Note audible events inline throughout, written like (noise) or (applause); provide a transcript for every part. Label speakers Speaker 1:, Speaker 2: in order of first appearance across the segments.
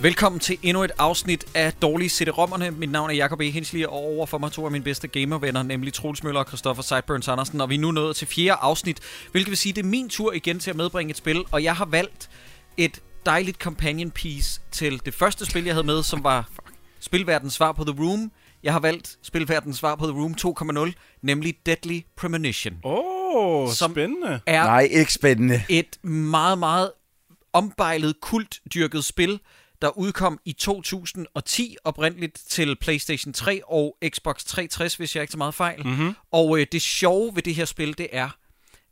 Speaker 1: Velkommen til endnu et afsnit af Dårlige CD-rommerne. Mit navn er Jakob E. Hensley, og over for mig to af mine bedste gamervenner, nemlig Troels Møller og Christoffer Sideburns Andersen, og vi er nu nået til fjerde afsnit, hvilket vil sige, det er min tur igen til at medbringe et spil, og jeg har valgt et dejligt companion piece til det første spil, jeg havde med, som var Spilverdens svar på The Room. Jeg har valgt Spilverdens svar på The Room 2.0, nemlig Deadly Premonition.
Speaker 2: Åh, oh,
Speaker 1: Som-
Speaker 2: spændende.
Speaker 1: Er
Speaker 3: Nej, ikke spændende.
Speaker 1: et meget, meget ombejlet, kultdyrket spil, der udkom i 2010 oprindeligt til PlayStation 3 og Xbox 360, hvis jeg ikke tager meget fejl.
Speaker 3: Mhm.
Speaker 1: Mm-hmm. Og øh, det sjove ved det her spil, det er,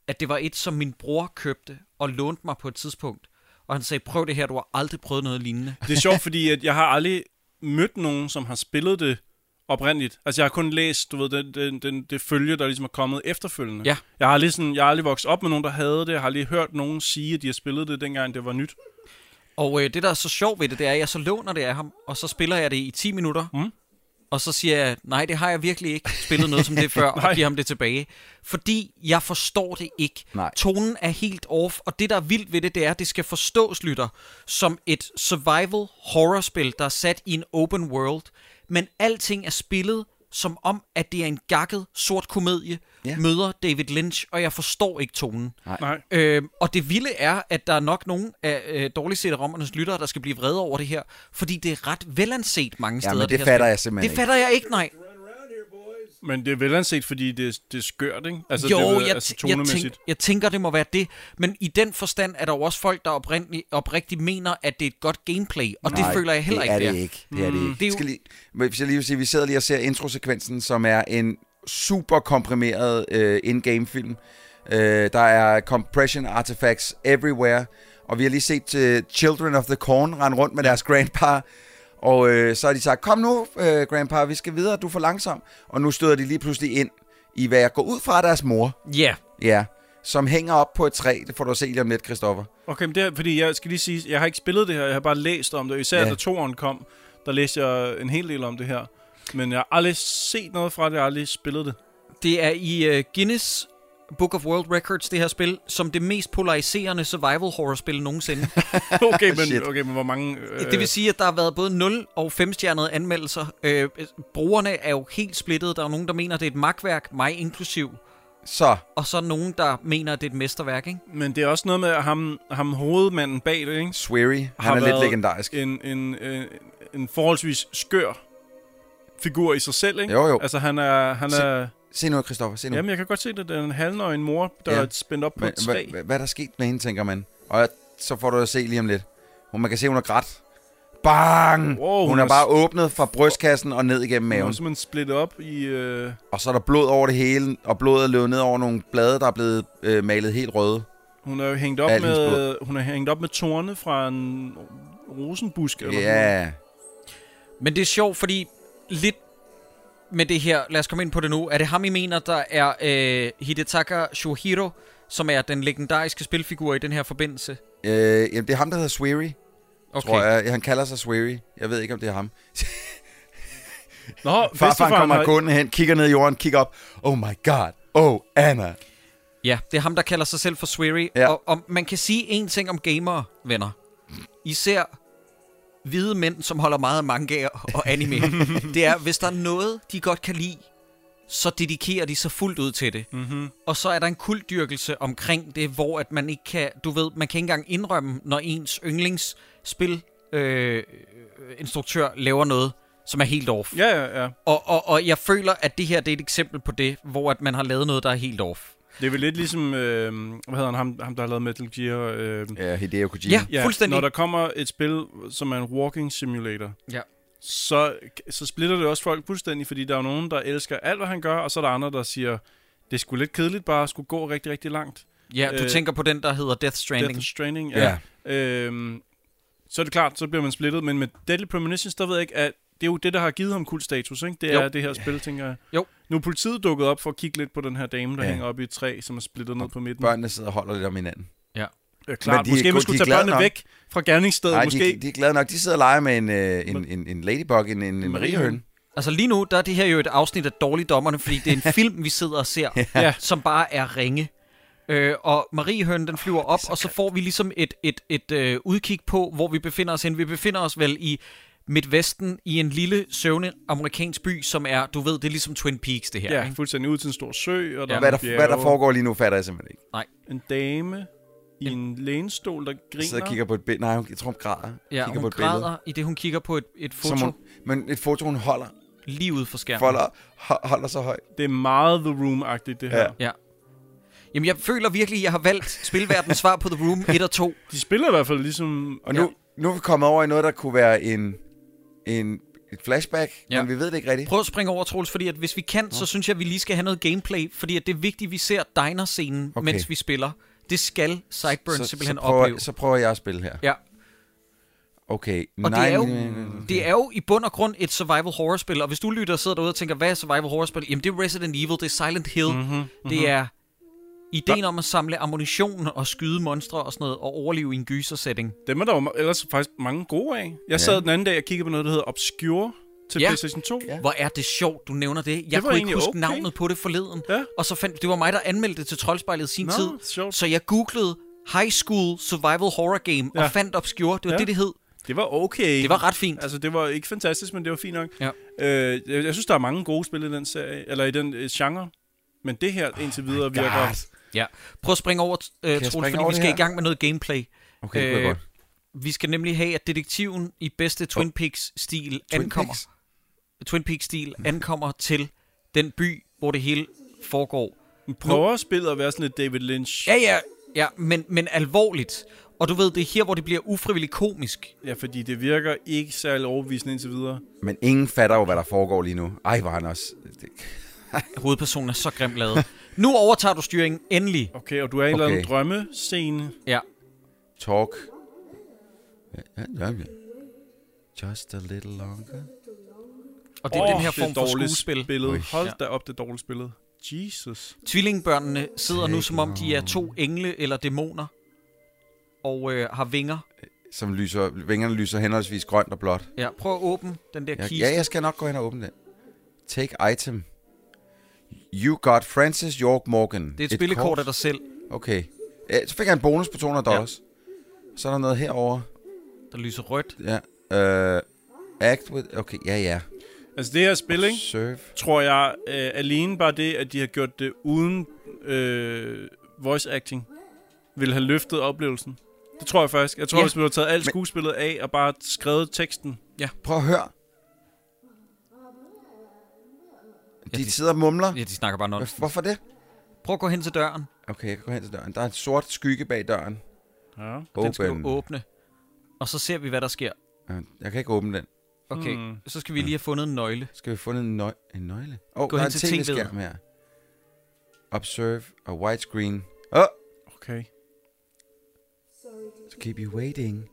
Speaker 1: at det var et, som min bror købte og lånte mig på et tidspunkt. Og han sagde, prøv det her, du har aldrig prøvet noget lignende.
Speaker 2: Det er sjovt, fordi at jeg har aldrig mødt nogen, som har spillet det oprindeligt. Altså, jeg har kun læst, du ved, den, den, den, det følge, der ligesom er kommet efterfølgende.
Speaker 1: Ja.
Speaker 2: Jeg har, aldrig sådan, jeg har aldrig vokset op med nogen, der havde det. Jeg har aldrig hørt nogen sige, at de har spillet det, dengang det var nyt.
Speaker 1: Og øh, det, der er så sjovt ved det, det er, at jeg så låner det af ham, og så spiller jeg det i 10 minutter.
Speaker 2: Mm.
Speaker 1: Og så siger jeg, nej, det har jeg virkelig ikke spillet noget som det før, og
Speaker 2: Nej.
Speaker 1: giver ham det tilbage. Fordi jeg forstår det ikke.
Speaker 3: Nej.
Speaker 1: Tonen er helt off, og det, der er vildt ved det, det er, at det skal forstås, lytter, som et survival horror-spil, der er sat i en open world. Men alting er spillet som om, at det er en gakket sort komedie,
Speaker 3: Ja.
Speaker 1: møder David Lynch, og jeg forstår ikke tonen.
Speaker 2: Nej.
Speaker 1: Øh, og det vilde er, at der er nok nogen af øh, dårligt set rommernes lyttere, der skal blive vrede over det her, fordi det er ret velanset mange steder.
Speaker 3: det
Speaker 1: her
Speaker 3: fatter
Speaker 1: spil.
Speaker 3: jeg simpelthen
Speaker 1: Det
Speaker 3: ikke.
Speaker 1: fatter jeg ikke, nej.
Speaker 2: Men det er velanset, fordi det, det er skørt, ikke? Altså,
Speaker 1: jo,
Speaker 2: det er,
Speaker 1: jeg, altså, jeg, tænk, jeg tænker, det må være det. Men i den forstand er der jo også folk, der oprindeligt, oprigtigt mener, at det er et godt gameplay, og det føler jeg heller
Speaker 3: det
Speaker 1: ikke,
Speaker 3: er det ikke. Det er det ikke.
Speaker 1: Det er jo-
Speaker 3: Det Skal lige, men hvis jeg lige vil sige, vi sidder lige og ser introsekvensen, som er en super komprimeret øh, in-game film. Øh, der er compression artifacts everywhere, og vi har lige set øh, Children of the Corn rende rundt med deres grandpa, og øh, så har de sagt, kom nu, øh, grandpa, vi skal videre, du er for langsom. Og nu støder de lige pludselig ind i, hvad jeg går ud fra er deres mor,
Speaker 1: Ja,
Speaker 3: ja, som hænger op på et træ. Det får du at se lige om lidt, Christoffer.
Speaker 2: Okay, men det er, fordi jeg skal lige sige, jeg har ikke spillet det her, jeg har bare læst om det. og Især ja.
Speaker 3: Ja.
Speaker 2: da toeren kom, der læste jeg en hel del om det her. Men jeg har aldrig set noget fra det, jeg har aldrig spillet det.
Speaker 1: det er i uh, Guinness Book of World Records, det her spil, som det mest polariserende survival horror-spil nogensinde.
Speaker 2: Okay, men,
Speaker 3: Shit.
Speaker 2: okay, men hvor mange... (laughs) Øh,
Speaker 1: Det vil sige, at der har været både 0 og 5-stjernede anmeldelser. Øh, brugerne er jo helt splittet. Der er nogen, der mener, det er et magtværk, mig inklusiv.
Speaker 3: Så,
Speaker 1: Og så er nogen, der mener, at det er et mesterværk, ikke?
Speaker 2: Men det er også noget med at ham, ham hovedmanden bag det, ikke?
Speaker 3: Sweary, han
Speaker 2: Har
Speaker 3: er lidt
Speaker 2: været
Speaker 3: legendarisk.
Speaker 2: En, en, en, en forholdsvis skør figur i sig selv, ikke?
Speaker 3: Jo, jo.
Speaker 2: Altså, han er... Han
Speaker 3: Se-
Speaker 2: er
Speaker 3: Se nu, Christoffer, se nu.
Speaker 2: jamen, jeg kan godt se, at det er en halvnøgen mor, der
Speaker 3: Ja.
Speaker 2: er spændt op på
Speaker 3: Hva-
Speaker 2: et træ.
Speaker 3: hva- hva- Hvad er der sket med hende, tænker man. Og så får du at se lige om lidt. Hun, man kan se, hun har grædt. Bang!
Speaker 2: Wow, hun
Speaker 3: hun er
Speaker 2: er
Speaker 3: bare åbnet fra brystkassen og ned igennem
Speaker 2: Han er
Speaker 3: maven.
Speaker 2: simpelthen splittet op i... Øh,
Speaker 3: Og så er der blod over det hele, og blodet er løbet ned over nogle blade, der er blevet øh, malet helt røde.
Speaker 2: hun er jo hængt op
Speaker 3: Alt hendes
Speaker 2: med... Hun er hængt op med torne fra en rosenbusk eller sådan noget.
Speaker 3: Ja,
Speaker 1: Men det er sjovt, fordi lidt med det her, lad os komme ind på det nu, er det ham, I mener, der er øh, Hidetaka Shohiro, som er den legendariske spilfigur i den her forbindelse?
Speaker 3: øh, jamen, det er ham, der hedder Sweary,
Speaker 1: Okay.
Speaker 3: okay. tror jeg. Han kalder sig Sweary. Jeg ved ikke, om det er ham.
Speaker 2: Nå,
Speaker 3: Farfaren kommer
Speaker 2: har,
Speaker 3: gående hen, kigger ned i jorden, kigger op. Oh my god. Oh, Anna.
Speaker 1: Ja, det er ham, der kalder sig selv for Sweary. Ja.
Speaker 3: Ja.
Speaker 1: Og, og man kan sige en ting om gamere, venner. Især hvide mænd, som holder meget af mangaer og anime. det er, hvis der er noget, de godt kan lide, så dedikerer de sig fuldt ud til det.
Speaker 2: Mhm.
Speaker 1: Mm-hmm. Og så er der en kulddyrkelse omkring det, hvor at man ikke kan, du ved, man kan ikke engang indrømme, når ens yndlingsspil øh, instruktør laver noget, som er helt off.
Speaker 2: Ja, ja, ja.
Speaker 1: Og, og, og jeg føler, at det her det er et eksempel på det, hvor at man har lavet noget, der er helt off.
Speaker 2: Det er vel lidt ligesom... Øh, hvad hedder han? Ham, ham der har lavet Metal Gear... Øh,
Speaker 3: Ja, Hideo Kojima.
Speaker 1: Ja.
Speaker 2: Ja,
Speaker 1: Fuldstændig.
Speaker 2: når der kommer et spil, som er en walking simulator,
Speaker 1: Ja.
Speaker 2: så, så splitter det også folk fuldstændig, fordi der er jo nogen, der elsker alt, hvad han gør, og så er der andre, der siger, det skulle lidt kedeligt bare at skulle gå rigtig, rigtig langt.
Speaker 1: Ja, du øh,
Speaker 2: Øh,
Speaker 1: tænker på den, der hedder Death Stranding.
Speaker 2: Death Stranding, ja. Øhm, så er det klart, så bliver man splittet, men med Deadly Premonitions, der ved jeg ikke, at det er jo det, der har givet ham cool status, ikke? Det
Speaker 1: Jo.
Speaker 2: er det her spil, tænker jeg.
Speaker 1: Jo.
Speaker 2: Nu er politiet dukket op for at kigge lidt på den her dame, der
Speaker 3: Ja.
Speaker 2: hænger op i et træ, som er splittet ned på midten.
Speaker 3: Børnene sidder og holder lidt om hinanden.
Speaker 2: Ja, klart.
Speaker 3: Men de er
Speaker 2: måske man
Speaker 3: gode-
Speaker 2: skulle
Speaker 3: de er
Speaker 2: tage
Speaker 3: glade
Speaker 2: børnene
Speaker 3: nok.
Speaker 2: væk fra gerningsstedet,
Speaker 3: Nej,
Speaker 2: måske.
Speaker 3: de, de er glade nok. De sidder og leger med en, øh, en, en, en ladybug, en, en, en mariehøn.
Speaker 1: Altså lige nu, der er det
Speaker 3: (laughs)
Speaker 1: her jo et afsnit af Dårlige Dommerne, fordi det er en film, vi sidder og ser,
Speaker 2: Ja.
Speaker 1: som bare er ringe. Øh, og Mariehøn, den flyver op, og så får vi ligesom et, et, et øh, udkig på, hvor vi befinder os hen. Vi befinder os vel i midtvesten i en lille søvne amerikansk by, som er, du ved, det er ligesom Twin Peaks det her.
Speaker 2: Ja,
Speaker 1: ikke?
Speaker 2: fuldstændig ud til en stor sø, og
Speaker 1: Ja.
Speaker 2: der ja.
Speaker 3: Hvad der, hvad der foregår lige nu, fatter jeg simpelthen ikke.
Speaker 2: en dame i en lænestol, der griner.
Speaker 3: Jeg sidder og kigger på et billede. Nej, hun, jeg tror, hun græder.
Speaker 1: Ja,
Speaker 3: kigger
Speaker 1: hun græder, i det hun kigger på et, et foto
Speaker 3: Som hun, men et foto, hun holder,
Speaker 1: lige ude for skærmen.
Speaker 3: folder, ho- holder så højt.
Speaker 2: Det er meget The Room-agtigt, det her.
Speaker 3: Ja.
Speaker 2: Ja.
Speaker 1: Ja. Jamen, jeg føler virkelig, at jeg har valgt spilverdens svar på The Room 1 og 2.
Speaker 2: De spiller i hvert fald ligesom...
Speaker 3: Og nu, ja. nu er vi kommet over i noget, der kunne være en, en, et flashback,
Speaker 1: Ja.
Speaker 3: ja. men vi ved det ikke rigtigt.
Speaker 1: Prøv at springe over, Troels, fordi at hvis vi kan, så synes jeg, at vi lige skal have noget gameplay, fordi at det er vigtigt, at vi ser diner-scenen, okay.
Speaker 3: Okay.
Speaker 1: mens vi spiller. Det skal Sideburn
Speaker 3: så,
Speaker 1: simpelthen
Speaker 3: så, prøver,
Speaker 1: opleve.
Speaker 3: så prøver jeg at spille her.
Speaker 1: Ja,
Speaker 3: Okay.
Speaker 1: og
Speaker 3: nej,
Speaker 1: det, er jo,
Speaker 3: nej, nej, nej.
Speaker 1: det er jo i bund og grund et survival horror-spil, og hvis du lytter og sidder derude og tænker, hvad er survival horror-spil? Jamen, det er Resident Evil, det er Silent Hill,
Speaker 3: Mhm,
Speaker 1: mm-hmm, mm-hmm. det er ideen om at samle ammunition og skyde monstre og sådan noget, og overleve i en gyser-setting.
Speaker 2: Dem er der jo ma- ellers faktisk mange gode af. Jeg sad den anden dag og kiggede på noget, der hedder Obscure til
Speaker 1: Ja.
Speaker 2: ja. PlayStation 2. Ja.
Speaker 3: Ja.
Speaker 1: Hvor er det sjovt, du nævner det. Jeg det
Speaker 2: var
Speaker 1: kunne ikke
Speaker 2: egentlig
Speaker 1: huske okay.
Speaker 2: okay.
Speaker 1: navnet på det forleden.
Speaker 2: Ja.
Speaker 1: Og så fandt, det var mig, der anmeldte det til Troldspejlet i sin
Speaker 2: Nå,
Speaker 1: tid.
Speaker 2: sjovt.
Speaker 1: Så jeg googlede High School Survival Horror Game ja.
Speaker 2: Ja.
Speaker 1: og fandt Obscure. Det var ja.
Speaker 2: Ja.
Speaker 1: det, det hed.
Speaker 2: Det var okay.
Speaker 1: Det var ret fint.
Speaker 2: Altså, det var ikke fantastisk, men det var fint nok.
Speaker 1: Ja.
Speaker 2: Øh, jeg, jeg synes, der er mange gode spil i den serie, eller i den øh, genre. Men det her indtil videre oh virker...
Speaker 3: God.
Speaker 1: Ja. Prøv at springe over, øh,
Speaker 3: jeg
Speaker 1: Troels,
Speaker 3: springe
Speaker 1: fordi
Speaker 3: over
Speaker 1: vi
Speaker 3: det
Speaker 1: skal i
Speaker 3: her?
Speaker 1: gang med noget gameplay.
Speaker 3: Okay, det kunne jeg
Speaker 1: Øh,
Speaker 3: godt.
Speaker 1: Vi skal nemlig have, at detektiven i bedste Twin Peaks-stil ankommer.
Speaker 3: Peaks?
Speaker 1: Twin Peaks-stil ankommer til den by, hvor det hele foregår.
Speaker 2: Prøver spillet at være sådan lidt David Lynch.
Speaker 1: Ja, ja, ja, men, men alvorligt. Og du ved, det er her, hvor det bliver ufrivilligt komisk.
Speaker 2: Ja, fordi det virker ikke særlig overbevisende indtil videre.
Speaker 3: Men ingen fatter jo, hvad der foregår lige nu. Ej, var han også... Det,
Speaker 1: Hovedpersonen er så grimt lavet. (laughs) Nu overtager du styringen endelig.
Speaker 2: Okay, og du er i en eller anden
Speaker 3: Okay.
Speaker 2: drømmescene.
Speaker 1: Ja.
Speaker 3: talk. Ja, ja, ja. Just a little longer.
Speaker 1: Og det er oh,
Speaker 2: Åh,
Speaker 1: den her
Speaker 2: det er
Speaker 1: form for
Speaker 2: dårligt
Speaker 1: skuespil.
Speaker 2: Spillet. Hold
Speaker 1: Ja.
Speaker 2: da op, det er dårligt spillet. Jesus.
Speaker 1: Tvillingbørnene sidder nu, som om de er to engle eller dæmoner. Og øh, har vinger.
Speaker 3: Som lyser, vingerne lyser henholdsvis grønt og blåt.
Speaker 1: Ja, prøv at åbne den der
Speaker 3: Jeg,
Speaker 1: kiste.
Speaker 3: ja, jeg skal nok gå hen og åbne den. Take item. You got Francis York Morgan.
Speaker 1: Det er et, et spillekort af dig selv,
Speaker 3: Okay. Ja, så fik jeg en bonus på 200 dollars. Så er der noget herover.
Speaker 1: der lyser rødt.
Speaker 3: Ja. Uh, act with... Okay, ja, ja.
Speaker 2: Altså det her spil, ikke?
Speaker 3: Serve.
Speaker 2: tror jeg øh, alene bare det, at de har gjort det uden øh, voice acting, ville have løftet oplevelsen. Det tror jeg faktisk. Jeg tror,
Speaker 1: Ja.
Speaker 2: ja. hvis man havde taget alt
Speaker 3: Men-
Speaker 2: skuespillet af og bare skrevet teksten.
Speaker 3: Prøv at høre. De,
Speaker 1: Ja, de-
Speaker 3: sidder og mumler.
Speaker 1: Ja, de snakker bare noget.
Speaker 3: Hva- Hvorfor det?
Speaker 1: Prøv at gå hen til døren.
Speaker 3: Okay, jeg kan gå hen til døren. Der er en sort skygge bag døren.
Speaker 2: Ja.
Speaker 1: Den skal du åbne. Og så ser vi, hvad der sker.
Speaker 3: Øh, Jeg kan ikke åbne den.
Speaker 1: Okay, hmm. så skal vi lige have fundet en nøgle.
Speaker 3: Skal vi finde en, nøg- en nøgle? Åh, oh,
Speaker 1: Gå
Speaker 3: der
Speaker 1: hen
Speaker 3: er en
Speaker 1: til tv'et.
Speaker 3: tv-skærm her. Observe a widescreen. Oh,
Speaker 2: Okay.
Speaker 3: to keep you waiting.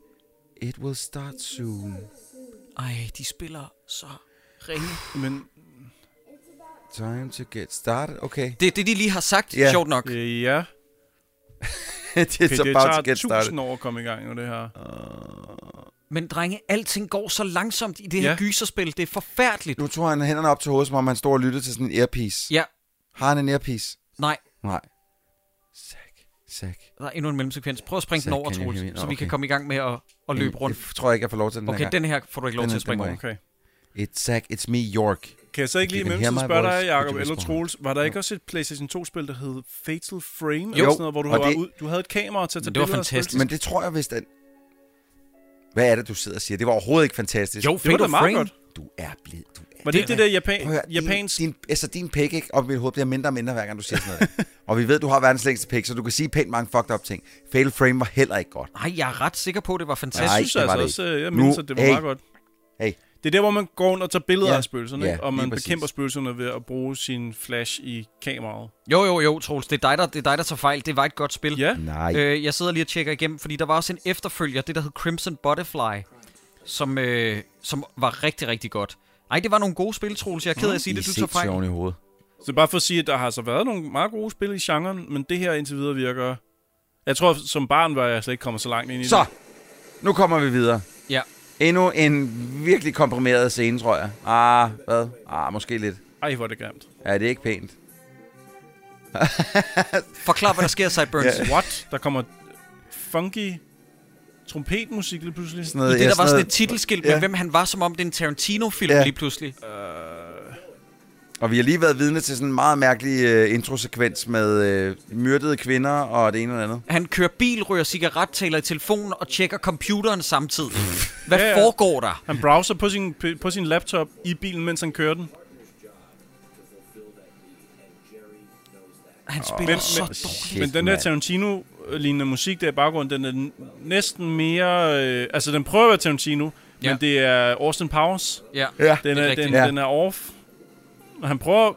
Speaker 3: It will start soon.
Speaker 1: Ej, de spiller så ringe.
Speaker 2: Men
Speaker 3: Time to get started.
Speaker 1: (laughs)
Speaker 3: Okay.
Speaker 1: Det er det, de lige har sagt,
Speaker 3: Ja.
Speaker 1: sjovt nok.
Speaker 2: øh, ja,
Speaker 3: It's
Speaker 2: okay, det tager tusind år at komme i gang med det her.
Speaker 1: Men drenge, alting går så langsomt i det her
Speaker 2: Ja.
Speaker 1: gyserspil. Det er forfærdeligt.
Speaker 3: Nu tog han hænderne op til hovedet, som om han stod og lyttede til sådan en earpiece.
Speaker 1: Ja,
Speaker 3: Har han en earpiece?
Speaker 1: nej.
Speaker 3: Nej. Zack. Zack.
Speaker 1: Der er endnu en mellemsekvens. Prøv at springe
Speaker 3: Så
Speaker 1: den over,
Speaker 3: kan jeg
Speaker 1: Troels,
Speaker 3: hive ind.
Speaker 1: så vi
Speaker 3: Okay.
Speaker 1: kan komme i gang med at, at løbe rundt.
Speaker 3: Jeg tror ikke, jeg får lov til den
Speaker 1: Okay,
Speaker 3: her gang.
Speaker 1: den her får du ikke lov
Speaker 3: Den
Speaker 1: til
Speaker 3: er-
Speaker 1: at springe
Speaker 3: den må
Speaker 1: over.
Speaker 3: jeg
Speaker 2: Okay.
Speaker 3: It's Zack, it's me, York.
Speaker 2: Kan jeg så ikke
Speaker 3: You
Speaker 2: lige i
Speaker 3: can hear
Speaker 2: mellemtiden
Speaker 3: my
Speaker 2: spørge dig,
Speaker 3: voice,
Speaker 2: Jacob
Speaker 3: producer
Speaker 2: eller
Speaker 3: Storm.
Speaker 2: Troels, var der ikke også et PlayStation 2-spil, der hed Fatal Frame? Jo, eller
Speaker 3: Jo,
Speaker 2: sådan noget, hvor du,
Speaker 3: og
Speaker 2: var
Speaker 3: det-
Speaker 2: ud, du havde et kamera til at tage
Speaker 1: Men det var
Speaker 2: billeder og spille?
Speaker 1: fantastisk.
Speaker 3: Men det tror jeg, hvis den... Hvad er det, du sidder og siger? Det var overhovedet ikke fantastisk.
Speaker 1: Jo,
Speaker 2: Det var da
Speaker 1: Fatal
Speaker 2: meget
Speaker 1: Frame.
Speaker 2: godt.
Speaker 3: Du er blevet... Du er...
Speaker 2: Var det, ikke det der japan,
Speaker 3: Prøv at høre,
Speaker 2: japansk...
Speaker 3: Din, din, altså, din pik, ikke? Og mit hoved bliver mindre og mindre, hver gang du siger sådan noget. (laughs) der. og vi ved, du har verdens længste pik, så du kan sige pænt mange fucked up ting. Fail Frame var heller ikke godt.
Speaker 1: Nej, jeg er ret sikker på, at det var
Speaker 2: Jeg
Speaker 3: Nej,
Speaker 1: fantastisk.
Speaker 2: synes
Speaker 3: det var
Speaker 2: altså
Speaker 3: det
Speaker 2: også,
Speaker 3: ikke.
Speaker 2: jeg
Speaker 3: Nu-
Speaker 2: mindes, at det var
Speaker 3: hey.
Speaker 2: meget godt.
Speaker 3: Hey.
Speaker 2: Det er der, hvor man går rundt og tager billeder
Speaker 3: Ja.
Speaker 2: af spøgelserne,
Speaker 3: Ja,
Speaker 2: ikke? og
Speaker 3: lige
Speaker 2: man
Speaker 3: præcis.
Speaker 2: bekæmper spøgelserne ved at bruge sin flash i kameraet.
Speaker 1: Jo, jo, jo, Troels. Det er dig, der, det er dig, der tager fejl. Det var et godt
Speaker 3: Mm.
Speaker 1: spil.
Speaker 2: Ja,
Speaker 3: Nej.
Speaker 1: Øh, jeg sidder lige og tjekker igennem, fordi der var også en efterfølger, det der hed Crimson Butterfly, som, øh, som var rigtig, rigtig godt. Nej, det var nogle gode spil, Troels. Jeg er ked af at sige
Speaker 3: Mm. I
Speaker 1: det, du
Speaker 3: er
Speaker 1: tager fejl.
Speaker 3: sindssygt oven i hovedet.
Speaker 2: så bare for at sige, at der har så været nogle meget gode spil i genren, men det her indtil videre virker... Jeg tror, som barn var jeg slet ikke kommet så langt ind i
Speaker 3: Så,
Speaker 2: det.
Speaker 3: nu kommer vi videre.
Speaker 1: Ja.
Speaker 3: Endnu en virkelig komprimeret scene, tror jeg. Ah, hvad? Ah, måske lidt.
Speaker 2: Ej, hvor er det grimt.
Speaker 3: Ja, det er ikke pænt.
Speaker 1: Forklar, hvad der sker,
Speaker 3: (laughs)
Speaker 1: Sideburns. ja.
Speaker 2: What? Der kommer funky trompetmusik lige pludselig.
Speaker 3: Sådan
Speaker 1: I det,
Speaker 3: noget,
Speaker 1: der var
Speaker 3: sådan
Speaker 1: sådan et
Speaker 3: noget,
Speaker 1: titelskilt
Speaker 3: Ja.
Speaker 1: med, hvem han var, som om det er en Tarantino-film
Speaker 3: Ja.
Speaker 1: lige pludselig.
Speaker 3: og vi har lige været vidne til sådan en meget mærkelig øh, introsekvens med øh, myrdede kvinder og det ene og det andet.
Speaker 1: Han kører bil, ryger cigaret, taler i telefonen og tjekker computeren
Speaker 2: (laughs)
Speaker 1: samtidig. Hvad
Speaker 2: Ja,
Speaker 1: ja,
Speaker 2: ja.
Speaker 1: ja. foregår der?
Speaker 2: Han browser på sin, på sin laptop i bilen, mens han kører den.
Speaker 1: Han spiller
Speaker 2: Men-
Speaker 1: så
Speaker 2: men-
Speaker 1: dårligt.
Speaker 3: Shit,
Speaker 2: Men den der
Speaker 3: mand.
Speaker 2: Tarantino-lignende musik der i baggrunden, den er n- næsten mere... Øh, altså, den prøver at være Tarantino, ja.
Speaker 1: Ja.
Speaker 2: men det er Austin Powers.
Speaker 1: Ja.
Speaker 3: Ja.
Speaker 2: Den
Speaker 1: Det er
Speaker 2: er,
Speaker 1: rigtigt.
Speaker 2: den,
Speaker 3: Ja.
Speaker 2: ja. den er off. Og han prøver...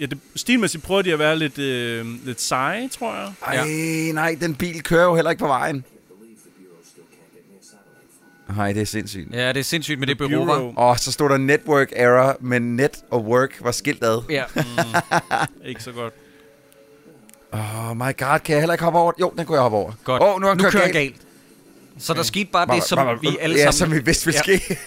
Speaker 2: Ja, det, stilmæssigt prøver de at være lidt, øh, lidt seje, tror jeg.
Speaker 3: Ej,
Speaker 1: Ja.
Speaker 3: nej, den bil kører jo heller ikke på vejen. Nej, det er sindssygt.
Speaker 1: ja, det er sindssygt med det bureau, hva'?
Speaker 2: Bureau.
Speaker 3: Og så stod der network error, men net og work var skilt ad.
Speaker 1: Ja.
Speaker 2: Mm.
Speaker 1: mm,
Speaker 2: Ikke så godt.
Speaker 3: Oh my god, kan jeg heller ikke hoppe over? den? Jo, den kunne jeg hoppe over.
Speaker 1: Godt.
Speaker 3: Åh, oh, nu har
Speaker 1: nu kører galt.
Speaker 3: galt.
Speaker 1: galt. Så der skete bare
Speaker 3: Bare-
Speaker 1: det, som
Speaker 3: bare-
Speaker 1: vi alle
Speaker 3: ja,
Speaker 1: sammen...
Speaker 3: som vi vidste ville
Speaker 1: Ja.
Speaker 3: ske.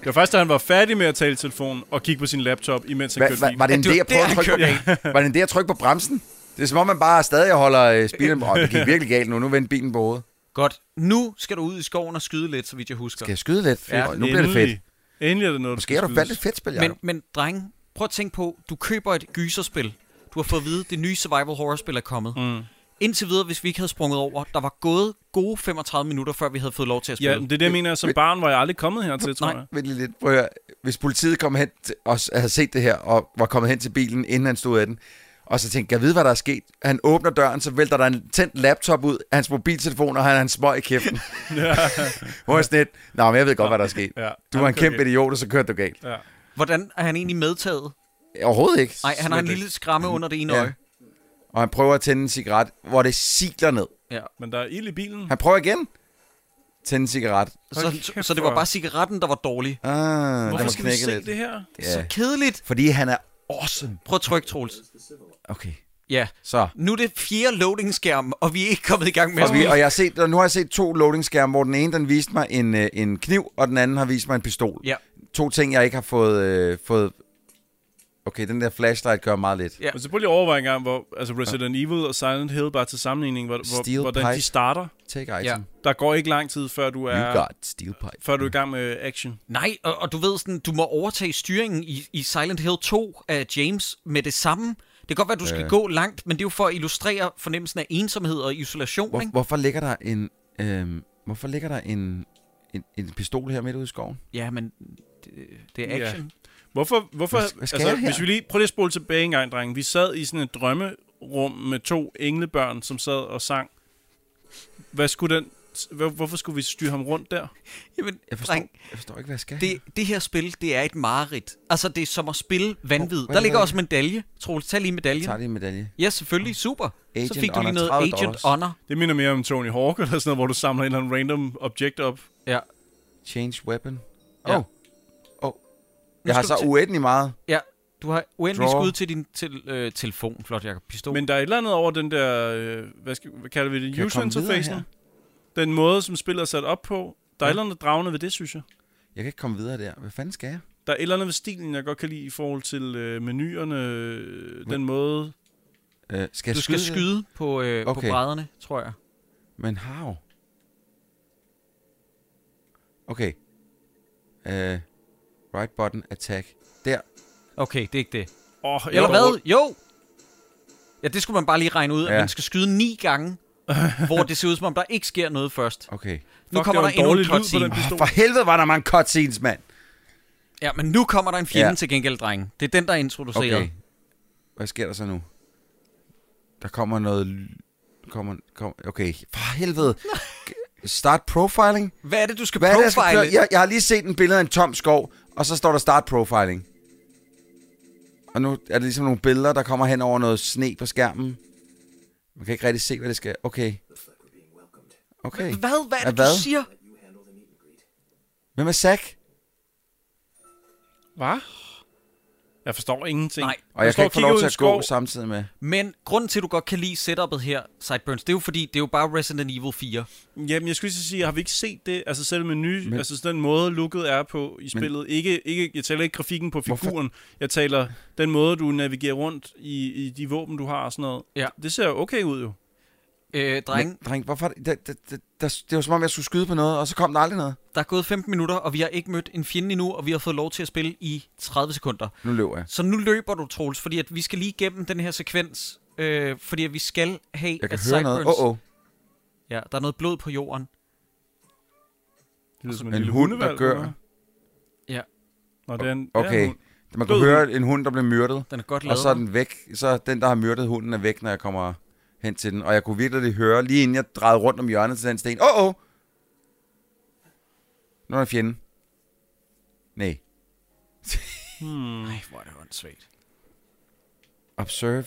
Speaker 2: Det var først, da han var færdig med at tale i telefon og kigge på sin laptop, imens han
Speaker 3: Hva,
Speaker 2: kørte
Speaker 3: hva,
Speaker 2: bil.
Speaker 3: var det en
Speaker 1: Ja, det
Speaker 3: idé
Speaker 1: var
Speaker 3: at prøve
Speaker 1: der,
Speaker 3: at
Speaker 1: han
Speaker 3: trykke på, var det en idé at trykke på bremsen? Det er som om, man bare stadig holder øh, spilen. Åh, det gik virkelig galt nu. Nu vendte bilen på hovedet.
Speaker 1: Godt. Nu skal du ud i skoven og skyde lidt, så vidt jeg husker.
Speaker 3: Skal jeg skyde lidt?
Speaker 1: Ja,
Speaker 3: Ja, nu bliver det fedt.
Speaker 2: Endelig. Endelig er det noget, der
Speaker 3: Måske har du
Speaker 2: skydes.
Speaker 3: valgt et fedt spil,
Speaker 1: Men,
Speaker 3: Jacob.
Speaker 1: men drenge, prøv at tænke på, du køber et gyserspil. Du har fået at vide, at det nye survival horror-spil er kommet. Mm. Indtil videre, hvis vi ikke havde sprunget over, der var gået gode 35 minutter, før vi havde fået lov til at spille.
Speaker 2: Ja, men det er det, jeg mener. Som barn var jeg aldrig kommet hertil, tror
Speaker 1: Nej.
Speaker 2: jeg. (laughs)
Speaker 3: Vent lige lidt. Prøv at høre. Hvis politiet kom hen til, og s- havde set det her, og var kommet hen til bilen, inden han stod af den, og så tænkte, jeg ved, hvad der er sket. Han åbner døren, så vælter der en tændt laptop ud, hans mobiltelefon, og han har en smøg i kæften. Hvor er sådan lidt, Nå, men jeg ved godt, hvad der er sket.
Speaker 2: Ja.
Speaker 3: Du
Speaker 2: Han
Speaker 3: var en
Speaker 2: kørte
Speaker 3: kæmpe idiot, og så kørte du galt.
Speaker 2: Ja.
Speaker 1: Hvordan er han egentlig medtaget?
Speaker 3: Overhovedet ikke.
Speaker 1: Nej, han har en
Speaker 2: Slet ikke.
Speaker 1: lille skramme under det ene
Speaker 3: Mm. Ja.
Speaker 1: øje.
Speaker 3: Og han prøver at tænde en cigaret, hvor det sigler ned.
Speaker 1: Ja.
Speaker 2: Men der er ild i bilen.
Speaker 3: Han prøver igen. Tænde en cigaret.
Speaker 2: Hold
Speaker 1: Så,
Speaker 2: kæft,
Speaker 1: så det var
Speaker 2: hvor-
Speaker 1: bare cigaretten, der var dårlig.
Speaker 3: Ah, den
Speaker 2: Hvorfor
Speaker 3: var
Speaker 2: skal vi
Speaker 3: knækket
Speaker 2: se
Speaker 3: lidt.
Speaker 2: det her?
Speaker 1: Så
Speaker 3: Ja.
Speaker 1: kedeligt.
Speaker 3: Fordi han er awesome.
Speaker 1: Prøv at trykke, Troels.
Speaker 3: Okay.
Speaker 1: Ja.
Speaker 3: Så.
Speaker 1: Nu er det fjerde loading-skærm, og vi er ikke kommet i gang med at
Speaker 3: Og, vi,
Speaker 1: spille.
Speaker 3: og jeg har set, og nu har jeg set to loading-skærme, hvor den ene den viste mig en, øh, en kniv, og den anden har vist mig en pistol.
Speaker 1: Ja.
Speaker 3: To ting, jeg ikke har fået... Øh, fået okay, den der flashlight gør meget lidt.
Speaker 1: Ja.
Speaker 2: Men så prøv lige at overveje en gang, hvor altså Resident Evil og Silent Hill bare til sammenligning, hvor,
Speaker 3: Steel
Speaker 2: hvor, hvordan
Speaker 3: pipe.
Speaker 2: de starter.
Speaker 3: Take item.
Speaker 1: Ja.
Speaker 2: Der går ikke lang tid, før du
Speaker 3: You
Speaker 2: er,
Speaker 3: got steel pipe.
Speaker 2: før du er i gang med action.
Speaker 1: Nej, og, og du ved sådan, du må overtage styringen i, i Silent Hill 2 af James med det samme. Det kan godt være, du skal gå langt, men det er jo for at illustrere fornemmelsen af ensomhed og isolation,
Speaker 3: Hvor,
Speaker 1: ikke?
Speaker 3: hvorfor ligger der en... Øh, hvorfor ligger der en, en, en pistol her midt ude i skoven?
Speaker 1: Ja, men det, det er action.
Speaker 2: Hvorfor, hvorfor
Speaker 3: Hvad- hvad skal
Speaker 2: altså,
Speaker 3: jeg her?
Speaker 2: hvis vi lige, prøv lige at spole tilbage en gang, drenge. Vi sad i sådan et drømmerum med to englebørn, som sad og sang. Hvad skulle den, hvor, hvorfor skulle vi styre ham rundt der?
Speaker 1: Jamen,
Speaker 3: Jeg forstår,
Speaker 1: dreng,
Speaker 3: jeg forstår ikke, hvad jeg skal her.
Speaker 1: det, det her spil, det er et mareridt. Altså, det er som at spille vanvid.
Speaker 3: Hvor- hvor
Speaker 1: Der
Speaker 3: er
Speaker 1: ligger
Speaker 3: det?
Speaker 1: også medalje. Troels, tag lige
Speaker 3: Jeg tager
Speaker 1: medaljen.
Speaker 3: lige en medalje.
Speaker 1: Ja, selvfølgelig. Super.
Speaker 3: Agent
Speaker 1: Så fik du
Speaker 3: Honor,
Speaker 1: lige noget
Speaker 3: 30
Speaker 1: Agent
Speaker 3: dollars.
Speaker 1: Honor.
Speaker 2: Det minder mere om Tony Hawk eller sådan noget, hvor du samler en eller anden random objekt op.
Speaker 1: Ja.
Speaker 3: Change weapon. Åh.
Speaker 1: Ja.
Speaker 3: Oh. Oh.
Speaker 1: skal
Speaker 3: Jeg har
Speaker 1: du
Speaker 3: så
Speaker 1: til-
Speaker 3: uendelig meget.
Speaker 1: Ja, du har uendelig
Speaker 3: Draw.
Speaker 1: skud til din til, øh, telefon, flot Jacob. Pistol.
Speaker 2: Men der er et eller andet over den der, øh, hvad, skal, hvad kalder vi
Speaker 3: jeg
Speaker 2: det, user
Speaker 3: komme videre
Speaker 2: interfacen. Den måde, som spillet er sat op på. Der er et eller andet dragende ved det, synes jeg.
Speaker 3: Jeg kan ikke komme videre der. Hvad fanden skal jeg?
Speaker 2: Der er et eller andet ved stilen, jeg godt kan lide i forhold til øh, menuerne. Øh, den måde...
Speaker 3: Øh, skal jeg
Speaker 1: Du skal
Speaker 3: det?
Speaker 1: skyde på, øh, okay. på
Speaker 3: Okay.
Speaker 1: brædderne, tror jeg.
Speaker 3: Men how? Okay. Øh, right button attack. Der.
Speaker 1: Okay, det er ikke det.
Speaker 2: Oh,
Speaker 1: Eller hvad? Jo! Ja, det skulle man bare lige regne ud, at
Speaker 3: Ja.
Speaker 1: man skal skyde ni
Speaker 3: (laughs)
Speaker 1: gange, hvor det ser ud som om, der ikke sker noget først.
Speaker 3: Okay.
Speaker 1: Nu kommer der
Speaker 2: en
Speaker 1: endnu
Speaker 2: dårlig
Speaker 1: en
Speaker 2: lyd på den
Speaker 1: cutscene.
Speaker 2: pistol.
Speaker 3: For helvede var der mange cutscenes, mand.
Speaker 1: Ja, men nu kommer der en fjende
Speaker 3: Ja.
Speaker 1: ja. til gengæld, drenge. Det er den, der er introduceret.
Speaker 3: Okay. Hvad sker der så nu? Der kommer noget... l- Kommer, kom, okay. For helvede. Start profiling?
Speaker 1: Hvad er det, du skal
Speaker 3: Hvad er det, jeg, skal
Speaker 1: profile?
Speaker 3: klø- jeg, jeg har lige set en billede af en tom skov, og så står der start profiling. Og nu er det ligesom nogle billeder, der kommer hen over noget sne på skærmen. Man kan ikke rigtig se, hvad det skal. Okay. Okay.
Speaker 1: Hvad? Hvad er det,
Speaker 3: Hvad?
Speaker 1: du siger?
Speaker 3: Hvem er Zack?
Speaker 2: Hvad? Jeg forstår ingenting.
Speaker 1: Nej.
Speaker 3: Og jeg
Speaker 2: står
Speaker 3: kan ikke få lov
Speaker 2: kigger
Speaker 3: til
Speaker 2: ud i
Speaker 3: at gå
Speaker 2: skov.
Speaker 3: samtidig med.
Speaker 1: Men grunden til, at du godt kan lide setupet her, Sideburns, det er jo fordi, det er jo bare Resident Evil 4.
Speaker 2: Jamen, jeg skulle lige så sige, har vi ikke set det? Altså selv med nye, men, altså den måde looket er på i spillet. ikke, ikke, jeg taler ikke grafikken på
Speaker 3: Hvorfor?
Speaker 2: figuren. Jeg taler den måde, du navigerer rundt i, i de våben, du har og sådan noget.
Speaker 1: Ja.
Speaker 2: Det ser jo okay ud jo.
Speaker 1: Øh, drenge,
Speaker 3: Men, dreng, hvorfor? er Det, det, det, det, det, det var som om, jeg skulle skyde på noget, og så kom der aldrig noget.
Speaker 1: der er gået 15 minutter, og vi har ikke mødt en fjende endnu, og vi har fået lov til at spille i 30 sekunder.
Speaker 3: Nu løber jeg.
Speaker 1: Så nu løber du, Troels, fordi at vi skal lige igennem den her sekvens, øh, fordi at vi skal have...
Speaker 3: Jeg kan
Speaker 1: at
Speaker 3: høre noget. Åh, oh, oh.
Speaker 1: Ja, der er noget blod på jorden.
Speaker 2: Det lyder som en,
Speaker 3: Altså, En
Speaker 2: lille
Speaker 3: hund, der
Speaker 2: hundevalg,
Speaker 3: gør.
Speaker 2: eller hvad?
Speaker 1: Ja.
Speaker 2: Nå, det er en, det er en
Speaker 3: Okay.
Speaker 2: hund.
Speaker 3: Man kunne
Speaker 2: Død
Speaker 3: høre en hund, der blev myrdet,
Speaker 1: Den er godt lavet.
Speaker 3: og så er den væk. Så den, der har myrdet hunden, er væk, når jeg kommer hen til den. Og jeg kunne virkelig høre, lige inden jeg drejede rundt om hjørnet til den sten. Åh, oh, åh! Oh. Nu er der en fjende. Nej.
Speaker 2: Hmm.
Speaker 1: Nej, hvor er det åndssvagt.
Speaker 3: Observe.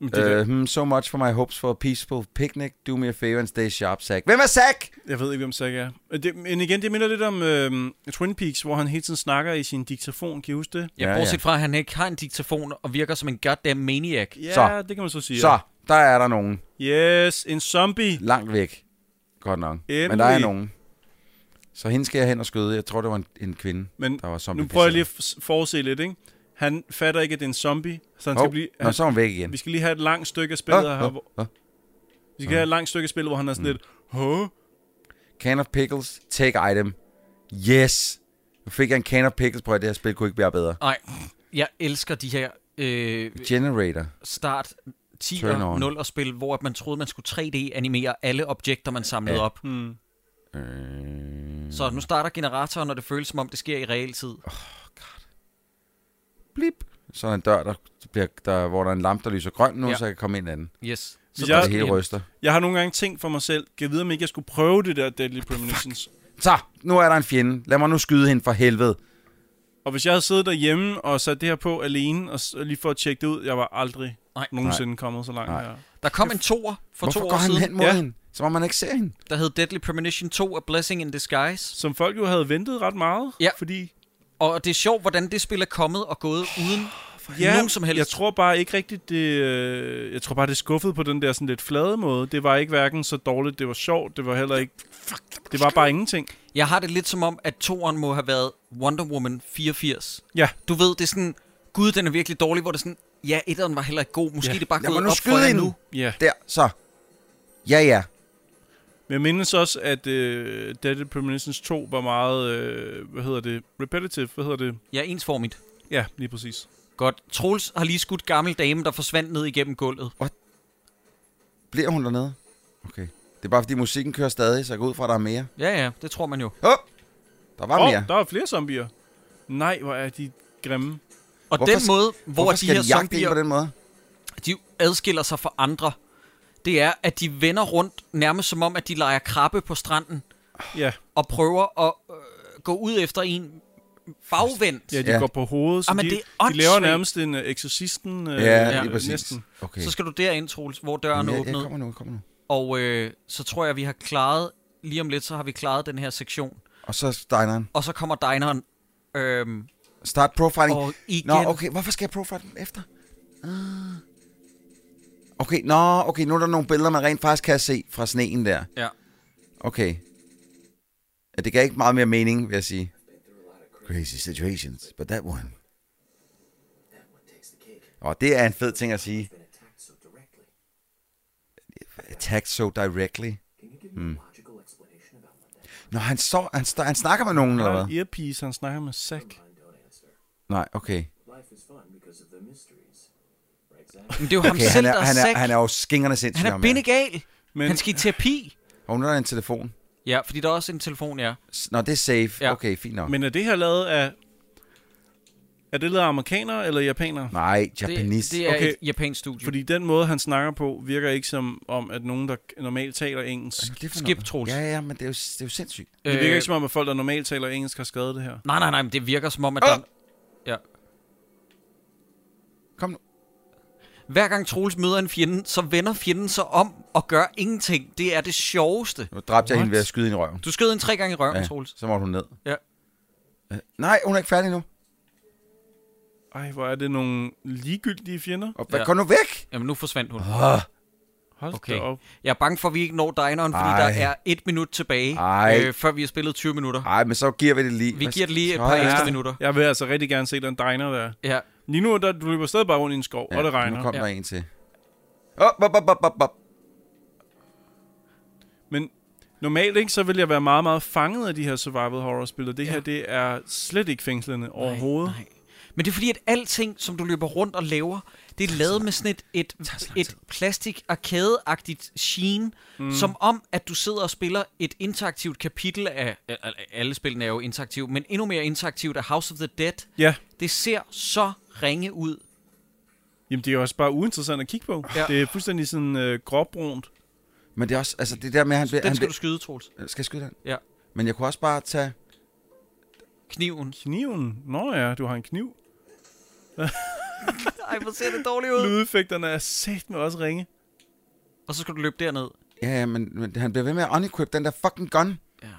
Speaker 2: Men det der,
Speaker 3: Uh, hmm, so much for my hopes for a peaceful picnic. Do me a favor and stay sharp, Zack. Hvem er Zack?
Speaker 2: jeg ved ikke, hvem Zack er. Øh, Det, men igen, det minder lidt om øh, Twin Peaks, hvor han hele tiden snakker i sin diktafon. Kan I huske det?
Speaker 1: Ja,
Speaker 3: Ja,
Speaker 1: ja,
Speaker 3: ja.
Speaker 1: bortset fra, at han ikke har en diktafon og virker som en goddamn maniac.
Speaker 2: Ja,
Speaker 3: Så.
Speaker 2: det kan man så sige.
Speaker 3: Så, der er der nogen.
Speaker 2: Yes, en zombie.
Speaker 3: Langt væk. Godt nok. Endelig. Men der er
Speaker 2: Endelig.
Speaker 3: nogen. Så hende skal jeg hen og skyde. Jeg tror, det var en, en kvinde,
Speaker 2: Men
Speaker 3: der var zombie.
Speaker 2: nu prøver jeg lige at f- forudse lidt, ikke? Han fatter ikke, at det er en zombie, så han
Speaker 3: oh,
Speaker 2: skal blive...
Speaker 3: Nå,
Speaker 2: Han,
Speaker 3: så er hun væk igen.
Speaker 2: vi skal lige have et langt stykke af spillet, her, hvor,
Speaker 3: ah, ah.
Speaker 2: vi skal have et langt stykke af spillet, hvor han er
Speaker 3: Mm.
Speaker 2: sådan lidt... Huh?
Speaker 3: Can of pickles, take item. Yes! Nu fik jeg en can of pickles, prøv at det her spil kunne ikke være bedre.
Speaker 1: Nej, jeg elsker de her øh,
Speaker 3: Generator.
Speaker 1: start
Speaker 3: Turn on.
Speaker 1: 10'er 0 og spil, hvor at man troede, man skulle 3D-animere alle objekter, man samlede
Speaker 3: Ja.
Speaker 1: ja. op.
Speaker 2: Hmm.
Speaker 3: Øh,
Speaker 1: Så nu starter generatoren, og det føles som om, det sker i realtid.
Speaker 3: blip. Så er der en dør, der, bliver, der, hvor der er en lampe, der lyser grøn nu, ja.
Speaker 1: Ja.
Speaker 3: så jeg kan komme ind ad den.
Speaker 1: Yes.
Speaker 2: Hvis
Speaker 1: går
Speaker 2: jeg-
Speaker 3: Og
Speaker 1: det
Speaker 3: det hele
Speaker 1: hjem.
Speaker 3: ryster.
Speaker 2: Jeg har nogle gange tænkt for mig selv, kan jeg vide, om ikke jeg skulle prøve det der Deadly Premonitions?
Speaker 3: Så, nu er der en fjende. Lad mig nu skyde hende for helvede.
Speaker 2: Og hvis jeg havde siddet derhjemme og sat det her på alene, og s- lige for at tjekke det ud, jeg var aldrig
Speaker 1: Nej.
Speaker 2: nogensinde kommet så langt
Speaker 3: Nej.
Speaker 2: her.
Speaker 1: Der kom en toer for to
Speaker 3: Hvorfor går
Speaker 1: år
Speaker 3: han
Speaker 1: siden,
Speaker 3: hen mod
Speaker 2: Ja.
Speaker 3: hende? Som om man ikke ser hende.
Speaker 1: der hed Deadly Premonition 2 A Blessing in Disguise.
Speaker 2: Som folk jo havde ventet ret meget,
Speaker 1: Ja.
Speaker 2: fordi...
Speaker 1: Og det er sjovt, hvordan det spil er kommet og gået uden nogen som helst.
Speaker 2: Jeg tror bare ikke rigtigt, det, øh, jeg tror bare, det skuffede på den der sådan lidt flade måde. Det var ikke hverken så dårligt, det var sjovt, det var heller ikke... Det var bare ingenting.
Speaker 1: Jeg har det lidt som om, at toeren må have været Wonder Woman 84.
Speaker 2: Ja.
Speaker 1: Du ved, det er sådan, gud, den er virkelig dårlig, hvor det er sådan, ja, etteren var heller ikke god. Måske
Speaker 2: Ja.
Speaker 1: ja. det er bare
Speaker 3: Lad mig
Speaker 1: gået
Speaker 3: nu
Speaker 1: op for
Speaker 3: skyde
Speaker 1: jer
Speaker 3: hende.
Speaker 1: nu.
Speaker 2: Ja.
Speaker 3: Der, så. Ja, ja.
Speaker 2: Men jeg mindes også, at øh, Deadly Premonitions 2 var meget... Øh, hvad hedder det? Repetitive, hvad hedder det?
Speaker 1: Ja, ensformigt.
Speaker 2: Ja, lige præcis.
Speaker 1: Godt. Troels har lige skudt gammel dame, der forsvandt ned igennem gulvet.
Speaker 3: Bliver hun dernede? Okay. Det er bare, fordi musikken kører stadig, så jeg går ud fra, at der er mere.
Speaker 1: Ja, ja, det tror man jo.
Speaker 3: Åh! Oh, der var
Speaker 2: Åh,
Speaker 3: oh,
Speaker 2: oh,
Speaker 3: mere.
Speaker 2: der er flere zombier. Nej, hvor er de grimme.
Speaker 1: Og
Speaker 3: Hvorfor
Speaker 1: den
Speaker 3: sk-
Speaker 1: måde, hvor
Speaker 3: Hvorfor
Speaker 1: de
Speaker 3: skal
Speaker 1: her
Speaker 3: de jagte en
Speaker 1: zombier
Speaker 3: på den måde?
Speaker 1: de adskiller sig fra andre, det er, at de vender rundt nærmest som om, at de leger krabbe på stranden
Speaker 2: Ja,
Speaker 1: og prøver at øh, gå ud efter en bagvendt.
Speaker 2: ja de
Speaker 3: Ja.
Speaker 2: ja. går på hovedet, så
Speaker 1: Ah, men
Speaker 2: de,
Speaker 1: det er
Speaker 2: de laver
Speaker 1: åndssvagt.
Speaker 2: nærmest en uh, eksorcisten. Øh,
Speaker 3: Ja,
Speaker 1: ja,
Speaker 3: lige præcis.
Speaker 2: Næsten.
Speaker 3: Okay.
Speaker 1: Så skal du derind, Troels, hvor døren
Speaker 3: Jamen,
Speaker 1: er
Speaker 3: jeg, jeg
Speaker 1: åbnet.
Speaker 3: kommer nu, jeg kommer nu.
Speaker 1: Og øh, så tror jeg, vi har klaret, lige om lidt, så har vi klaret den her sektion.
Speaker 3: Og så Steineren.
Speaker 1: Og så kommer dineren. Øhm,
Speaker 3: Start profiling.
Speaker 1: og igen,
Speaker 3: Nå, okay, hvorfor skal jeg profile den efter? Ah. Okay, nå, okay, nu er der nogle billeder, man rent faktisk kan se fra sneen der.
Speaker 1: Ja.
Speaker 3: Okay. Ja, det gav ikke meget mere mening, vil jeg sige. Crazy situations, but that one. Og det er en fed ting at sige. Attacked so directly. Hmm. Nå, han, står, han, står, han snakker med nogen,
Speaker 2: Han
Speaker 3: eller
Speaker 2: har
Speaker 3: hvad?
Speaker 2: en earpiece, han snakker med Zack.
Speaker 3: Nej, okay.
Speaker 1: Men det er jo ham
Speaker 3: Okay,
Speaker 1: selv, der
Speaker 3: han er,
Speaker 1: er
Speaker 3: han er,
Speaker 1: sæk.
Speaker 3: han er jo skingerne sindssygt.
Speaker 1: han er
Speaker 3: ham her.
Speaker 1: bindegal.
Speaker 2: Men
Speaker 1: Han skal i terapi.
Speaker 3: Og nu er der en telefon.
Speaker 1: Ja, fordi der er også en telefon, ja.
Speaker 3: S- Nå, det er safe. Ja.
Speaker 1: Ja.
Speaker 3: Okay, fint nok. Men...
Speaker 2: Men er det her lavet af... Er det lavet af amerikanere eller japanere?
Speaker 3: Nej,
Speaker 1: Det,
Speaker 3: Japanese.
Speaker 1: det er
Speaker 2: Okay.
Speaker 1: okay. et japansk studie.
Speaker 2: Fordi den måde, han snakker på, virker ikke som om, at nogen, der normalt taler engelsk...
Speaker 3: det for
Speaker 1: Skip,
Speaker 3: noget?
Speaker 1: Troels.
Speaker 3: Ja, ja, men det er jo, det er jo sindssygt.
Speaker 2: Det virker ikke som om, at folk, der normalt taler engelsk, har skrevet det her.
Speaker 1: Øh, Nej, nej, nej, men det virker som om, at
Speaker 3: Åh!
Speaker 1: der...
Speaker 2: Ah!
Speaker 1: Ja.
Speaker 3: Kom nu.
Speaker 1: Hver gang Troels møder en fjende, så vender fjenden sig om og gør ingenting. Det er det sjoveste.
Speaker 3: Nu dræbte jeg
Speaker 2: What?
Speaker 3: hende ved at skyde hende i røven.
Speaker 1: Du skød en tre gange i røven, ja. Troels.
Speaker 3: så måtte hun ned.
Speaker 1: Ja.
Speaker 3: Øh, Nej, hun er ikke færdig nu.
Speaker 2: Ej, hvor er det nogle ligegyldige fjender.
Speaker 3: Og hvad,
Speaker 1: Ja.
Speaker 3: ja. kom nu væk!
Speaker 1: Jamen, nu forsvandt hun.
Speaker 3: Oh,
Speaker 2: Hold
Speaker 1: Okay.
Speaker 2: okay. op.
Speaker 1: Jeg er bange for, at vi ikke når dineren, fordi Ej.
Speaker 3: Ej.
Speaker 1: der er et minut tilbage,
Speaker 3: Ej.
Speaker 1: øh, før vi har spillet 20 minutter. Ej.
Speaker 3: ej, men så giver vi det lige.
Speaker 1: Vi
Speaker 3: Hvad-
Speaker 1: giver det lige et
Speaker 3: Sådan.
Speaker 1: par ekstra minutter.
Speaker 2: Jeg vil altså rigtig gerne se den diner der.
Speaker 1: Ja.
Speaker 2: Lige nu, der, du løber stadig bare rundt i en skov, ja, og det regner.
Speaker 3: Nu kom
Speaker 1: Ja.
Speaker 3: ja. der en til. Op, op, op, op, op, op.
Speaker 2: Men normalt ikke, så vil jeg være meget, meget fanget af de her survival horror-spil, og det ja. her, det er slet ikke fængslende overhovedet.
Speaker 1: Nej. Men det er fordi, at alting, som du løber rundt og laver, det er lavet med sådan et, et, et plastik arkadeagtigt sheen, mm. som om, at du sidder og spiller et interaktivt kapitel af, al- al- alle spillene er jo interaktive, men endnu mere interaktivt af House of the Dead.
Speaker 2: Ja,
Speaker 1: Det ser så ringe ud.
Speaker 2: jamen det er jo også bare uinteressant at kigge på.
Speaker 1: Ja.
Speaker 2: Ja. Det er fuldstændig sådan øh, gråbrunt.
Speaker 3: Men det er også, altså det der med, at han bliver...
Speaker 1: Den
Speaker 3: Han
Speaker 1: skal du
Speaker 3: bliver
Speaker 1: skyde, Troels.
Speaker 3: skal jeg skyde den?
Speaker 1: Ja.
Speaker 3: Men jeg kunne også bare tage...
Speaker 1: Kniven.
Speaker 2: Kniven? Nå ja, du har en kniv.
Speaker 1: (laughs) Ej, hvor ser det dårligt ud.
Speaker 2: Lydeffekterne er sæt med også ringe.
Speaker 1: Og så skal du løbe derned.
Speaker 3: Ja, ja, men, men han bliver ved med at unequip den der fucking gun.
Speaker 1: Ja. Jamen,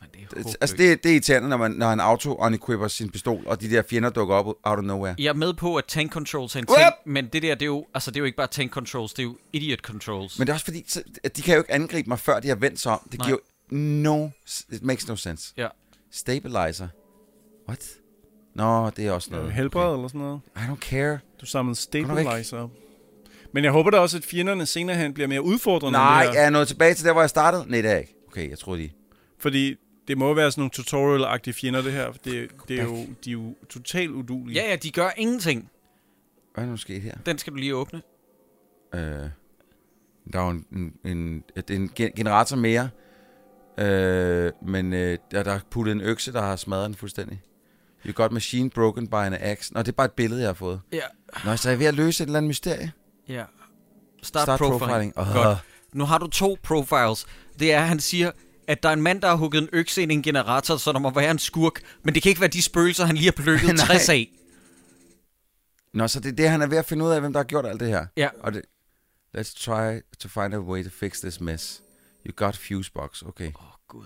Speaker 1: det er
Speaker 3: Det,
Speaker 1: håbløst.
Speaker 3: altså, det, det er irriterende, når, man, når han auto-unequipper sin pistol, og de der fjender dukker op out of nowhere.
Speaker 1: Jeg er med på, at tank controls er en
Speaker 3: Whoop!
Speaker 1: ting, men det der, det er, jo, altså, det er jo ikke bare tank controls, det er jo idiot controls.
Speaker 3: Men det er også fordi, så- at de kan jo ikke angribe mig, før de har vendt sig om. Det
Speaker 1: Nej.
Speaker 3: giver jo no... It makes no sense.
Speaker 1: Ja.
Speaker 3: Stabilizer. What? Nå, det er også
Speaker 2: Ja,
Speaker 3: noget.
Speaker 2: helbred okay. eller sådan noget.
Speaker 3: Okay. I don't care.
Speaker 2: Du samlede
Speaker 3: nu væk.
Speaker 2: stabilizer op. Men jeg håber da også, at fjenderne senere hen bliver mere udfordrende. end
Speaker 3: Nej,
Speaker 2: det her.
Speaker 3: er jeg nået tilbage til der, hvor jeg startede? Nej, det er jeg ikke. Okay, jeg tror lige.
Speaker 2: Fordi det må være sådan nogle tutorial-agtige fjender, det her. for Det, det er jo,
Speaker 3: back.
Speaker 2: de er jo totalt udulige.
Speaker 1: Ja, ja, de gør ingenting.
Speaker 3: Hvad er der nu sket her?
Speaker 1: Den skal du lige åbne.
Speaker 3: Øh, der er jo en, en, en, det er en gen- generator mere. Øh, men øh, der, der er puttet en økse, der har smadret den fuldstændig. You got machine broken by an axe. Nå, det er bare et billede, jeg har fået.
Speaker 1: Ja.
Speaker 3: Nå, så er jeg ved at løse et eller andet mysterie.
Speaker 1: ja. Start, Start profiling. profiling.
Speaker 3: Åh.
Speaker 1: Godt. Nu har du to profiles. Det er, at han siger, at der er en mand, der har hugget en økse ind i en generator, så der må være en skurk. Men det kan ikke være de spøgelser, han lige har (laughs) plukket
Speaker 3: Nej.
Speaker 1: 60 af.
Speaker 3: Nå, så det er det, han er ved at finde ud af, hvem der har gjort alt det her.
Speaker 1: Ja.
Speaker 3: Og det, let's try to find a way to fix this mess. You got fusebox. Okay.
Speaker 1: Åh, oh, Gud.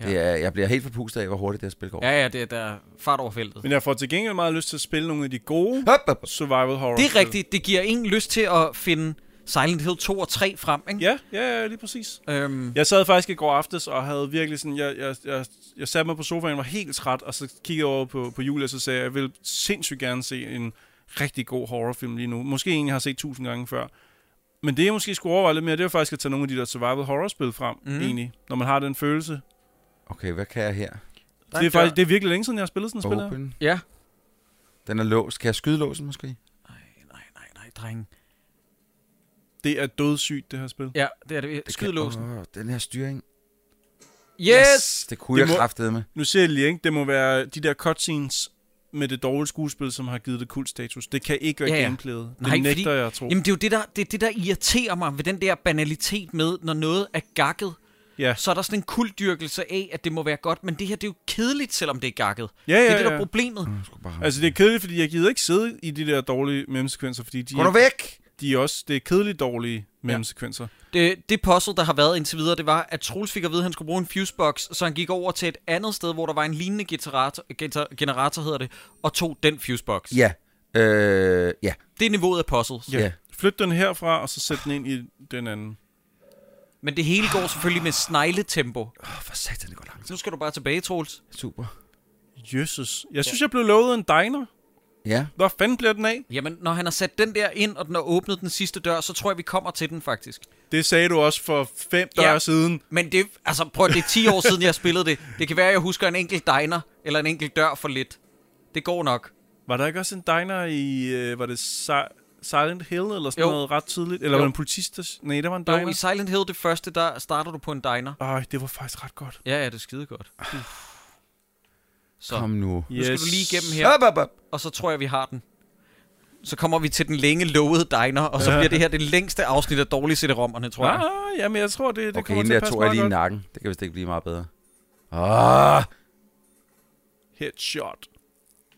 Speaker 1: Ja.
Speaker 3: Ja. Det er, jeg bliver helt forpustet af, hvor hurtigt det her spil går.
Speaker 1: Ja, ja, det er der er fart over feltet.
Speaker 2: Men jeg får til gengæld meget lyst til at spille nogle af de gode
Speaker 3: Hop, hop.
Speaker 2: survival horror
Speaker 1: Det er rigtigt. Det giver ingen lyst til at finde Silent Hill 2 og 3 frem, ikke?
Speaker 2: Ja, ja, ja, lige præcis.
Speaker 1: Øhm,
Speaker 2: Jeg sad faktisk i går aftes og havde virkelig sådan, jeg, jeg, jeg, jeg satte mig på sofaen og var helt træt, og så kiggede jeg over på, på Julia, og så sagde jeg, jeg vil sindssygt gerne se en rigtig god horrorfilm lige nu. Måske en, jeg har set tusind gange før. Men det, jeg måske skulle overveje lidt mere, det er jo faktisk at tage nogle af de der survival horror-spil frem,
Speaker 1: Mhm.
Speaker 2: mm. egentlig, når man har den følelse.
Speaker 3: Okay, hvad kan jeg her?
Speaker 1: der
Speaker 2: det,
Speaker 1: en
Speaker 2: er
Speaker 1: dør.
Speaker 2: faktisk, det er virkelig længe siden, jeg har spillet sådan et spil her.
Speaker 3: Open.
Speaker 1: Ja.
Speaker 3: Den er låst. Kan jeg skyde låsen måske?
Speaker 1: Nej, nej, nej, drenge.
Speaker 2: Det er dødssygt, det her spil.
Speaker 1: Ja, det er det. Skyd låsen.
Speaker 3: Åh, den her styring.
Speaker 1: Yes!
Speaker 3: Det kunne
Speaker 2: Det
Speaker 3: det jeg
Speaker 2: må-
Speaker 3: kraftede med.
Speaker 2: Nu ser jeg lige, ikke? Det må være de der cutscenes med det dårlige skuespil, som har givet det kult status. Det kan ikke være
Speaker 1: Ja,
Speaker 2: ja,
Speaker 1: ja.
Speaker 2: ja. gameplayet.
Speaker 1: Nej,
Speaker 2: Det nægter
Speaker 1: fordi-
Speaker 2: jeg at tro.
Speaker 1: Jamen, det er jo det der, det, er det, der irriterer mig ved den der banalitet med, når noget er gakket,
Speaker 2: ja.
Speaker 1: så er der sådan en kulddyrkelse af, at det må være godt, men det her, det er jo kedeligt, selvom det er gakket.
Speaker 2: Ja,
Speaker 1: Det
Speaker 2: ja,
Speaker 1: er det, der er
Speaker 2: ja.
Speaker 1: problemet.
Speaker 3: Jeg skulle bare...
Speaker 2: Altså, det er kedeligt, fordi jeg gider ikke sidde i de der dårlige memsekvenser, fordi de,
Speaker 3: Gå nu væk!
Speaker 2: de er også, det er kedeligt dårlige memsekvenser.
Speaker 1: Det, det puzzle, der har været indtil videre, det var, at Troels fik at vide, at han skulle bruge en fusebox, så han gik over til et andet sted, hvor der var en lignende generator, gener- generator hedder det, og tog den fusebox.
Speaker 3: Ja. Øh, ja.
Speaker 1: Det er niveauet af puzzles.
Speaker 2: Ja.
Speaker 3: Ja.
Speaker 2: Flyt den herfra, og så sæt den ind i den anden.
Speaker 1: Men det hele går selvfølgelig med snegletempo.
Speaker 3: Åh, for satan, det går langt.
Speaker 1: Nu skal du bare tilbage, Troels.
Speaker 3: Super.
Speaker 2: Jesus. Jeg synes, jeg blev lovet en diner.
Speaker 3: Ja.
Speaker 2: Hvor fanden bliver den af?
Speaker 1: Jamen, når han har sat den der ind, og den har åbnet den sidste dør, så tror jeg, vi kommer til den faktisk.
Speaker 2: Det sagde du også for fem
Speaker 1: Ja.
Speaker 2: dage siden.
Speaker 1: Men det, altså prøv, at- det er 10 år siden, jeg spillede det. Det kan være, jeg husker en enkelt diner, eller en enkelt dør for lidt. Det går nok.
Speaker 2: Var der ikke også en diner i, øh, var det Si- Silent Hill eller sådan
Speaker 1: Jo.
Speaker 2: jo. noget ret tidligt? Eller
Speaker 1: Jo.
Speaker 2: jo. var det en politist? Nej, der var en
Speaker 1: Jo, i
Speaker 2: diner.
Speaker 1: Silent Hill, det første, der starter du på en diner.
Speaker 2: Ej, det var faktisk ret godt.
Speaker 1: Ja, ja, det er skide godt. Så,
Speaker 3: Kom nu.
Speaker 1: nu skal du lige
Speaker 2: Ah,
Speaker 1: igennem her,
Speaker 3: Hop, hop, hop.
Speaker 1: og så tror jeg, vi har den. Så kommer vi til den længe lovede diner, og så bliver det her det længste afsnit af Dårlige CD-rommerne, tror jeg.
Speaker 2: Ah, jamen, jeg tror, det, det
Speaker 3: Okay,
Speaker 2: kommer
Speaker 3: hende
Speaker 2: til at
Speaker 3: der
Speaker 2: passe
Speaker 3: tog jeg
Speaker 2: meget
Speaker 3: lige i
Speaker 2: godt.
Speaker 3: nakken. Det kan vist ikke blive meget bedre. Ah!
Speaker 2: Headshot.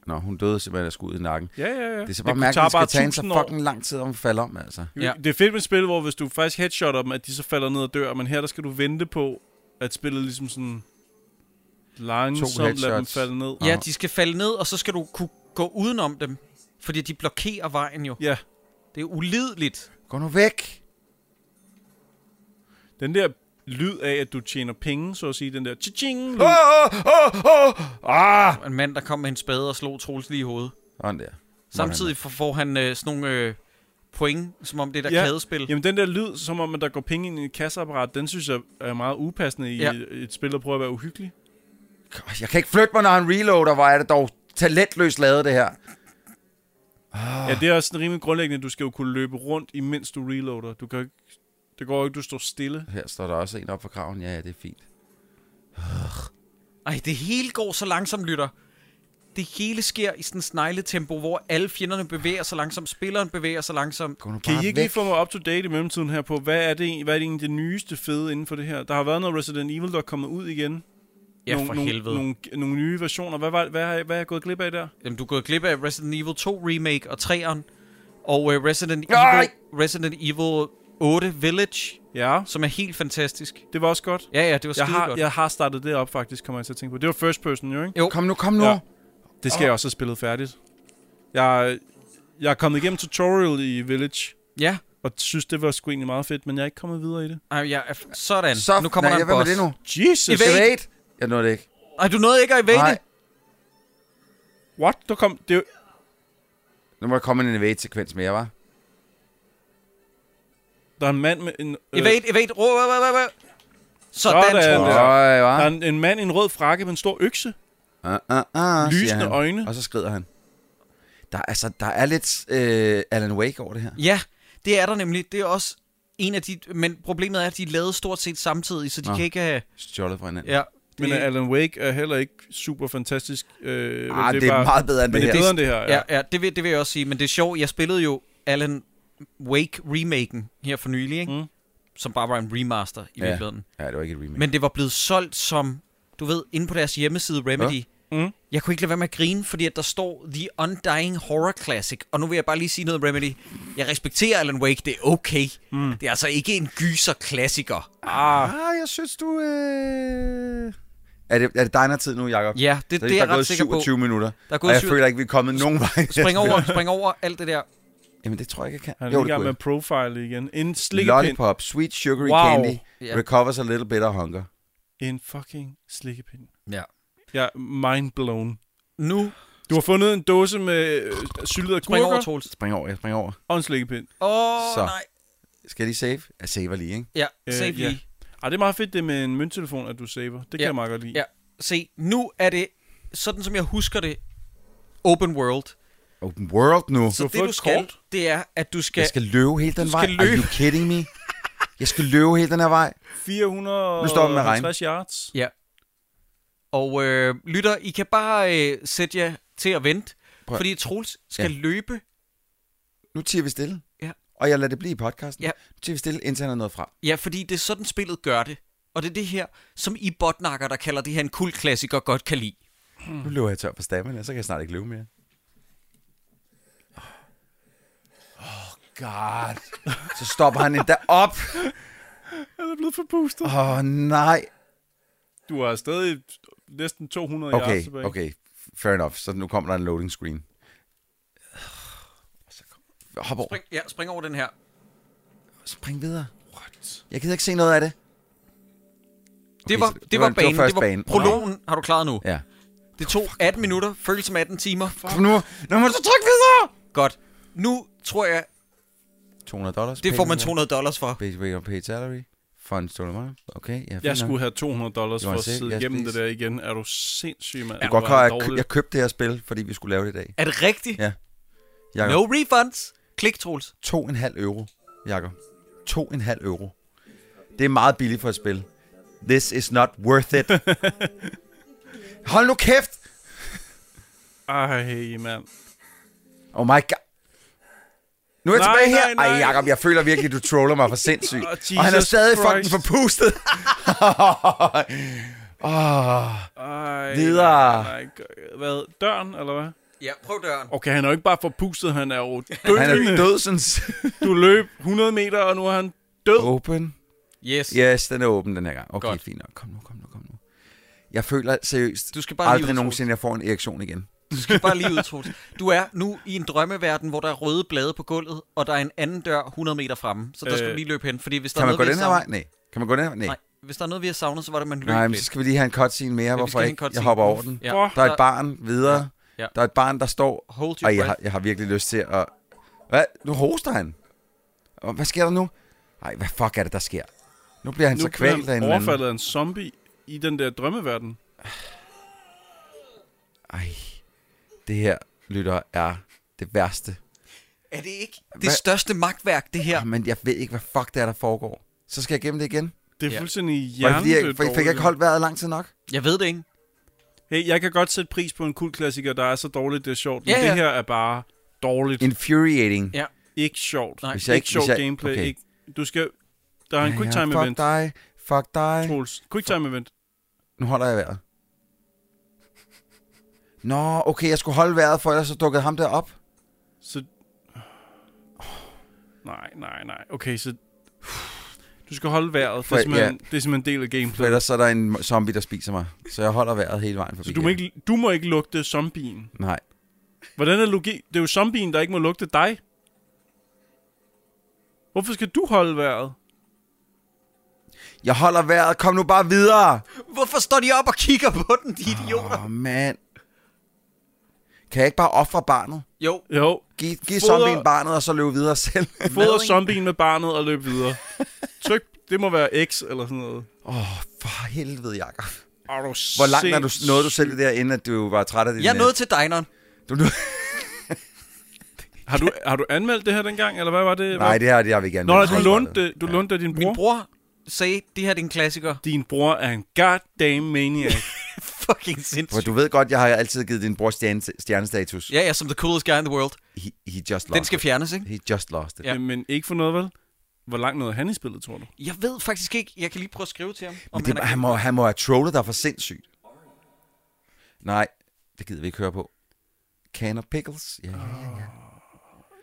Speaker 3: Nå, hun døde simpelthen af skud i nakken.
Speaker 2: Ja, ja, ja.
Speaker 3: Det er så bare
Speaker 2: kunne
Speaker 3: mærkeligt, at det
Speaker 2: tage
Speaker 3: skal tage hende så
Speaker 2: 1000 år.
Speaker 3: fucking lang tid, om hun falder om, altså.
Speaker 1: Ja.
Speaker 2: Ja. Det er fedt med et spil, hvor hvis du faktisk headshotter dem, at de så falder ned og dør, men her der skal du vente på, at spillet ligesom sådan langsomt lader dem
Speaker 3: headshots.
Speaker 2: falde ned.
Speaker 1: Ja, de skal falde ned, og så skal du kunne gå udenom dem, fordi de blokerer vejen jo.
Speaker 2: Ja,
Speaker 1: Det er ulideligt.
Speaker 3: Gå nu væk.
Speaker 2: den der lyd af, at du tjener penge, så at sige, den der tjing lyd.
Speaker 3: Åh, åh, åh, åh. Ah!
Speaker 1: En mand, der kom med en spade og slog Troels lige i hovedet.
Speaker 3: Sådan der.
Speaker 1: Samtidig får- får han øh, sådan nogle øh, point, som om det er et
Speaker 2: Ja.
Speaker 1: arcadespil.
Speaker 2: Jamen den der lyd, som om at der går penge ind i et kasseapparat, den synes jeg er meget upassende i
Speaker 1: Ja.
Speaker 2: ja. et, et spil, der prøver at være uhyggelig.
Speaker 3: God, Jeg kan ikke flytte mig, når han reloader. Hvor er det dog talentløst lavet, det her. Ah.
Speaker 2: Ja, det er også sådan rimelig grundlæggende, du skal jo kunne løbe rundt, imens du reloader. Du kan jo ikke, det går jo ikke, du står stille.
Speaker 3: Her står der også en op for kraven. Ja, ja, det er fint.
Speaker 1: Ej, det hele går så langsomt, lytter. Det hele sker i sådan en snegletempo, hvor alle fjenderne bevæger sig langsomt, spilleren bevæger sig langsomt.
Speaker 3: Gå nu
Speaker 2: Kan
Speaker 3: bare
Speaker 2: I ikke
Speaker 3: væk.
Speaker 2: lige få mig up to date i mellemtiden her på, hvad er det, hvad er det egentlig det nyeste fede inden for det her? Der har været noget Resident Evil, der er kommet ud igen.
Speaker 1: Ja, for
Speaker 2: nogle,
Speaker 1: helvede.
Speaker 2: Nogle, nogle nye versioner. Hvad, var, hvad, har, hvad har jeg gået glip af der?
Speaker 1: Jamen, du er gået glip af Resident Evil 2 Remake og 3'eren, og uh, Resident,
Speaker 3: Nej!
Speaker 1: Evil, Resident Evil 8 Village,
Speaker 2: Ja,
Speaker 1: som er helt fantastisk.
Speaker 2: det var også godt.
Speaker 1: Ja, ja, det var skide
Speaker 2: Jeg har,
Speaker 1: godt.
Speaker 2: jeg har startet det op faktisk, kommer jeg til at tænke på. Det var first person jo, ikke?
Speaker 1: Jo.
Speaker 3: Kom nu, kom nu.
Speaker 2: Ja. Det skal jeg også have spillet færdigt. Jeg, jeg er kommet igennem tutorial i Village,
Speaker 1: Ja,
Speaker 2: og synes, det var sgu egentlig meget fedt, men jeg er ikke kommet videre i det.
Speaker 1: Ej, jeg er f- sådan.
Speaker 3: Så,
Speaker 1: nu kommer
Speaker 3: nej,
Speaker 1: der en
Speaker 3: hvad med
Speaker 1: boss.
Speaker 3: det nu?
Speaker 2: Jesus!
Speaker 1: Evade.
Speaker 3: Evade. Jeg nåede det ikke.
Speaker 1: Ej, du nåede ikke at evade
Speaker 3: Nej,
Speaker 1: det?
Speaker 2: What? Der kom... Det,
Speaker 3: nu må der komme en evade-sekvens mere, var.
Speaker 2: der er en mand med en... Øh,
Speaker 1: Evade, evade, rå, rå, rå, rå. Sådan,
Speaker 2: Sådan.
Speaker 1: sådan
Speaker 2: Ja.
Speaker 3: Øj,
Speaker 2: Der
Speaker 3: var.
Speaker 2: er en, en mand i en rød frakke med en stor økse.
Speaker 3: Ah, ah, ah, siger
Speaker 2: Lysende
Speaker 3: han.
Speaker 2: øjne.
Speaker 3: Og så skrider han. Der, er- altså, der er lidt øh, Alan Wake over det her.
Speaker 1: Ja, det er der nemlig. Det er også en af de... Men problemet er, at de er lavet stort set samtidig, så de
Speaker 3: Nå.
Speaker 1: kan ikke have...
Speaker 3: Stjålet fra hinanden.
Speaker 1: Ja,
Speaker 2: Men
Speaker 1: det,
Speaker 2: Alan Wake er heller ikke super fantastisk. Øh,
Speaker 3: Ah, det, er meget bedre end
Speaker 2: Men
Speaker 3: det
Speaker 2: det
Speaker 3: her.
Speaker 2: er bedre end det her, ja.
Speaker 1: ja, ja det, vil, det vil jeg også sige. Men det er sjovt, jeg spillede jo Alan Wake remaken her for nylig, ikke?
Speaker 2: Mm.
Speaker 1: som bare var en remaster i
Speaker 3: Ja.
Speaker 1: virkeligheden.
Speaker 3: Ja, det var ikke et remake.
Speaker 1: Men det var blevet solgt som, du ved, inde på deres hjemmeside Remedy.
Speaker 2: Ja. Mm.
Speaker 1: Jeg kunne ikke lade være med at grine, fordi at der står The Undying Horror Classic. Og nu vil jeg bare lige sige noget Remedy. Jeg respekterer Alan Wake, det er okay. Mm. Det er altså ikke en gyser-klassiker.
Speaker 2: Ah,
Speaker 3: Ah, jeg synes, du... Øh... Er, det, er det diner tid nu, Jacob?
Speaker 1: Ja, det,
Speaker 3: Så
Speaker 1: det er jeg
Speaker 3: der
Speaker 1: ret
Speaker 3: gået
Speaker 1: sikker på.
Speaker 3: 27 minutter,
Speaker 1: Der er
Speaker 3: og
Speaker 1: gået
Speaker 3: jeg
Speaker 1: syv-
Speaker 3: føler ikke, vi er kommet nogen vej.
Speaker 1: Spring
Speaker 3: (laughs)
Speaker 1: over, spring over alt det der.
Speaker 3: Jamen, det tror jeg ikke, jeg kan.
Speaker 2: han er
Speaker 3: Jo,
Speaker 2: jo, i
Speaker 3: det
Speaker 2: gang med
Speaker 3: kunne
Speaker 2: profile igen. En
Speaker 3: jeg.
Speaker 2: slikkepind.
Speaker 3: Lollipop, sweet sugary
Speaker 2: Wow.
Speaker 3: candy,
Speaker 1: Ja.
Speaker 3: recovers a little bit of hunger.
Speaker 2: En fucking slikkepind.
Speaker 1: Ja.
Speaker 2: Jeg er mind blown.
Speaker 1: Nu
Speaker 2: Du har fundet en dåse med øh, syltede
Speaker 1: spring over,
Speaker 2: agurker
Speaker 1: Troels.
Speaker 3: Spring over, jeg springer over.
Speaker 2: og en slikkepind.
Speaker 1: Åh,
Speaker 3: Så.
Speaker 1: oh, nej.
Speaker 3: Skal jeg lige save? Jeg saver lige, ikke?
Speaker 1: Ja,
Speaker 2: Øh,
Speaker 1: save øh,
Speaker 2: ja.
Speaker 1: lige.
Speaker 2: Ah, det er meget fedt, det med en mønttelefon, at du saver. Det kan
Speaker 1: Ja.
Speaker 2: jeg meget godt lide.
Speaker 1: Ja. Se, nu er det, sådan som jeg husker det, open world.
Speaker 3: Open world nu.
Speaker 1: Så
Speaker 2: har
Speaker 1: det
Speaker 2: fået
Speaker 1: du
Speaker 2: et
Speaker 1: skal,
Speaker 2: kort.
Speaker 1: det er, at du skal...
Speaker 3: Jeg skal løbe hele den
Speaker 1: Du
Speaker 3: vej.
Speaker 1: skal
Speaker 3: Are
Speaker 1: løbe.
Speaker 3: you kidding me? Jeg skal løbe hele den her vej.
Speaker 2: 450 yards.
Speaker 1: Ja. Og øh, lytter, I kan bare øh, sætte jer til at vente,
Speaker 3: Prøv.
Speaker 1: Prøv. fordi Troels skal ja. løbe.
Speaker 3: Nu tiger vi stille.
Speaker 1: Ja.
Speaker 3: Og jeg lader det blive i podcasten.
Speaker 1: Ja.
Speaker 3: Nu tiger vi stille, indtil han er noget fra.
Speaker 1: Ja, fordi det er sådan, spillet gør det. Og det er det her, som I botnakker, der kalder det her en kultklassiker, godt kan lide.
Speaker 3: Nu løber jeg tør for stammen, og så kan jeg snart ikke løbe mere. Oh god. Så stopper han endda op.
Speaker 2: Jeg er blevet forpustet.
Speaker 3: Åh oh, nej.
Speaker 2: Du har stadig næsten 200 yards
Speaker 3: Okay,
Speaker 2: tilbage.
Speaker 3: okay. Fair enough. Så nu kommer der en loading screen. Så kom- Hop over.
Speaker 1: Spring, ja, spring over den her.
Speaker 3: Spring videre.
Speaker 2: What?
Speaker 3: Jeg gider ikke se noget af det.
Speaker 1: Det var,
Speaker 3: så
Speaker 1: det, det var, banen, det var,
Speaker 3: første
Speaker 1: det var
Speaker 3: bane.
Speaker 1: prologen, har du klaret nu.
Speaker 3: Ja.
Speaker 1: Det tog 18 minutter, føles som 18 timer.
Speaker 3: Kom nu. Nu må du trykke videre.
Speaker 1: Godt. Nu tror jeg,
Speaker 3: 200 dollars.
Speaker 1: det får man 200 dollars for.
Speaker 3: Basic rate on paid salary. Funds to Okay, ja, fint
Speaker 2: Jeg
Speaker 3: nok.
Speaker 2: skulle have 200 dollars
Speaker 3: You
Speaker 2: for
Speaker 3: wanna
Speaker 2: at
Speaker 3: see?
Speaker 2: sidde
Speaker 3: Yes,
Speaker 2: igennem det
Speaker 3: please.
Speaker 2: der igen. Er du sindssyg, mand?
Speaker 3: Du
Speaker 2: Ja,
Speaker 3: kan godt klare, at jeg, kø- jeg købte det her spil, fordi vi skulle lave det i dag.
Speaker 1: Er det rigtigt?
Speaker 3: Ja.
Speaker 1: Ja.
Speaker 3: Jakob,
Speaker 1: No refunds. Klik, Troels.
Speaker 3: 2,5 euro, Jakob. 2,5 euro. Det er meget billigt for et spil. This is not worth
Speaker 2: (laughs)
Speaker 3: it. Hold nu kæft!
Speaker 2: Ej, mand.
Speaker 3: Oh my god. Nu er jeg
Speaker 2: Nej,
Speaker 3: tilbage her.
Speaker 2: nej, nej.
Speaker 3: Ej, Jacob, jeg føler virkelig, du troller mig for sindssygt.
Speaker 2: (laughs) Åh,
Speaker 3: og han er
Speaker 2: Jesus
Speaker 3: stadig
Speaker 2: Christ.
Speaker 3: fucking
Speaker 2: (laughs)
Speaker 3: forpustet. oh,
Speaker 2: Ej,
Speaker 3: Videre.
Speaker 2: Nej, nej. Hvad? Døren, eller hvad?
Speaker 1: Ja, prøv døren.
Speaker 2: Okay, han er jo ikke bare forpustet, han er jo
Speaker 3: (laughs) han er
Speaker 2: døende.
Speaker 3: død, sådan...
Speaker 2: Du løb 100 meter, og nu er han død. Oh.
Speaker 3: Open.
Speaker 1: Yes.
Speaker 3: Yes, den er åben den her gang. Okay, Godt.
Speaker 1: Godt.
Speaker 3: fint nok. Kom nu, kom nu, kom nu. Jeg føler seriøst
Speaker 1: Du skal bare lige ud,
Speaker 3: aldrig
Speaker 1: Troels.
Speaker 3: nogensinde, jeg får en erektion igen.
Speaker 1: Du skal bare
Speaker 3: (laughs)
Speaker 1: lige ud, Troels. Du er nu i en drømmeverden, hvor der er røde blade på gulvet, og der er en anden dør 100 meter fremme. Så der skal
Speaker 2: Øh.
Speaker 1: du lige løbe hen, fordi hvis der
Speaker 3: Kan
Speaker 1: er
Speaker 3: man
Speaker 1: noget,
Speaker 3: gå
Speaker 1: vi har
Speaker 3: den her vej?
Speaker 1: savnet-
Speaker 3: Nej. Kan man gå den her vej? Nej.
Speaker 1: Nej, hvis der er noget, vi har savnet, så var det, man løb
Speaker 3: Nej, men så
Speaker 1: lidt.
Speaker 3: skal vi lige have en cutscene mere.
Speaker 1: vi
Speaker 3: Hvorfor
Speaker 1: skal have en
Speaker 3: ikke? Jeg
Speaker 1: cutscene.
Speaker 3: hopper over den.
Speaker 1: Ja.
Speaker 2: Fuck.
Speaker 3: Der er et barn videre.
Speaker 1: Ja. Ja.
Speaker 3: Der er et barn, der står
Speaker 1: Hold your
Speaker 3: Og jeg
Speaker 1: breath.
Speaker 3: har, jeg har virkelig lyst til at... Hvad? Nu hoster han. Og hvad sker der nu? Nej, hvad fuck er det, der sker? Nu bliver han
Speaker 2: Nu
Speaker 3: så
Speaker 2: bliver
Speaker 3: kvalt af
Speaker 2: han
Speaker 3: en eller anden.
Speaker 2: overfaldet af en zombie i den der drømmeverden.
Speaker 3: Ej, det her, lytter, er det værste.
Speaker 1: Er det ikke det
Speaker 3: Hvad-
Speaker 1: største magtværk, det her?
Speaker 3: Ja. Men jeg ved ikke, hvad fuck det er, der foregår. Så skal jeg gennem det igen.
Speaker 2: Det er
Speaker 1: Ja.
Speaker 2: ja. fuldstændig
Speaker 3: Var det fordi, jeg,
Speaker 2: hjernedødt
Speaker 3: fik, fik jeg ikke holdt vejret lang tid nok?
Speaker 1: Jeg ved det ikke.
Speaker 2: Hey, jeg kan godt sætte pris på en kultklassiker, der er så dårligt, det er sjovt.
Speaker 1: Ja,
Speaker 2: men
Speaker 1: ja.
Speaker 2: det her er bare dårligt.
Speaker 3: Infuriating.
Speaker 1: Ja.
Speaker 2: Ikke sjovt.
Speaker 1: Nej.
Speaker 3: Hvis
Speaker 2: Ikke, ikke sjovt
Speaker 3: hvis
Speaker 2: gameplay.
Speaker 3: okay.
Speaker 2: Okay. Ikke, du skal... Der er en
Speaker 3: Ja,
Speaker 2: quick
Speaker 3: ja,
Speaker 2: time
Speaker 3: Fuck
Speaker 2: event,
Speaker 3: dig. Fuck dig.
Speaker 2: Troels. Quick time event.
Speaker 3: Nu holder jeg vejret. Nå, okay, jeg skulle holde vejret, for ellers så dukkede ham der op.
Speaker 2: Så... Nej, nej, nej. Okay, så... Du skal holde vejret. Det
Speaker 3: For-
Speaker 2: er simpelthen, det er simpelthen en del af gameplay.
Speaker 3: For ellers så er der en zombie, der spiser mig. Så jeg holder vejret hele vejen forbi.
Speaker 2: Så du må, ikke, du må ikke lugte zombien.
Speaker 3: Nej.
Speaker 2: Hvordan er logi? Det er jo zombien, der ikke må lugte dig. Hvorfor skal du holde vejret?
Speaker 3: Jeg holder vejret. Kom nu bare videre.
Speaker 1: Hvorfor står de op og kigger på den, de idioter?
Speaker 2: (laughs)
Speaker 3: Åh, oh, mand. Kan jeg ikke bare ofre barnet?
Speaker 1: Jo,
Speaker 2: Jo,
Speaker 3: Giv, giv
Speaker 2: Foder-
Speaker 3: zombien barnet, og så løb videre selv. (laughs)
Speaker 2: fodre
Speaker 1: Mading.
Speaker 2: zombien med barnet og løb videre. Tryk, det må være X eller sådan noget.
Speaker 3: Åh, oh, for helvede, Jacob.
Speaker 2: Er du
Speaker 3: Hvor langt er du,
Speaker 2: sindssyg?
Speaker 3: nåede du selv der, inden at du var træt af din...
Speaker 1: jeg
Speaker 3: øh,
Speaker 1: nåede til dineren.
Speaker 3: Du, du,
Speaker 2: Har du, har du anmeldt det her dengang, eller hvad var det?
Speaker 3: nej, det her det har vi gerne.
Speaker 2: Nå,
Speaker 3: med.
Speaker 2: nej, du lånte det. Du lånte det af din bror.
Speaker 1: Min bror sagde, det her det er en klassiker.
Speaker 2: Din bror er en goddamn maniac.
Speaker 1: Fucking
Speaker 3: For
Speaker 1: sindssygt.
Speaker 3: du ved godt, jeg har altid givet din bror stjerne, stjernestatus.
Speaker 1: Ja, ja, som the coolest guy in the world.
Speaker 3: He, he just lost
Speaker 1: Den skal
Speaker 3: it.
Speaker 1: fjernes, ikke?
Speaker 3: He just lost it.
Speaker 1: Ja.
Speaker 2: ja. Men ikke for noget, vel? Hvor langt nåede han i spillet, tror du?
Speaker 1: Jeg ved faktisk ikke. Jeg kan lige prøve at skrive til ham. Om
Speaker 3: Men det,
Speaker 1: han er...
Speaker 3: han, må, han må have trollet dig for sindssygt. Nej, det gider vi ikke høre på. Can of pickles? Ja, ja, ja.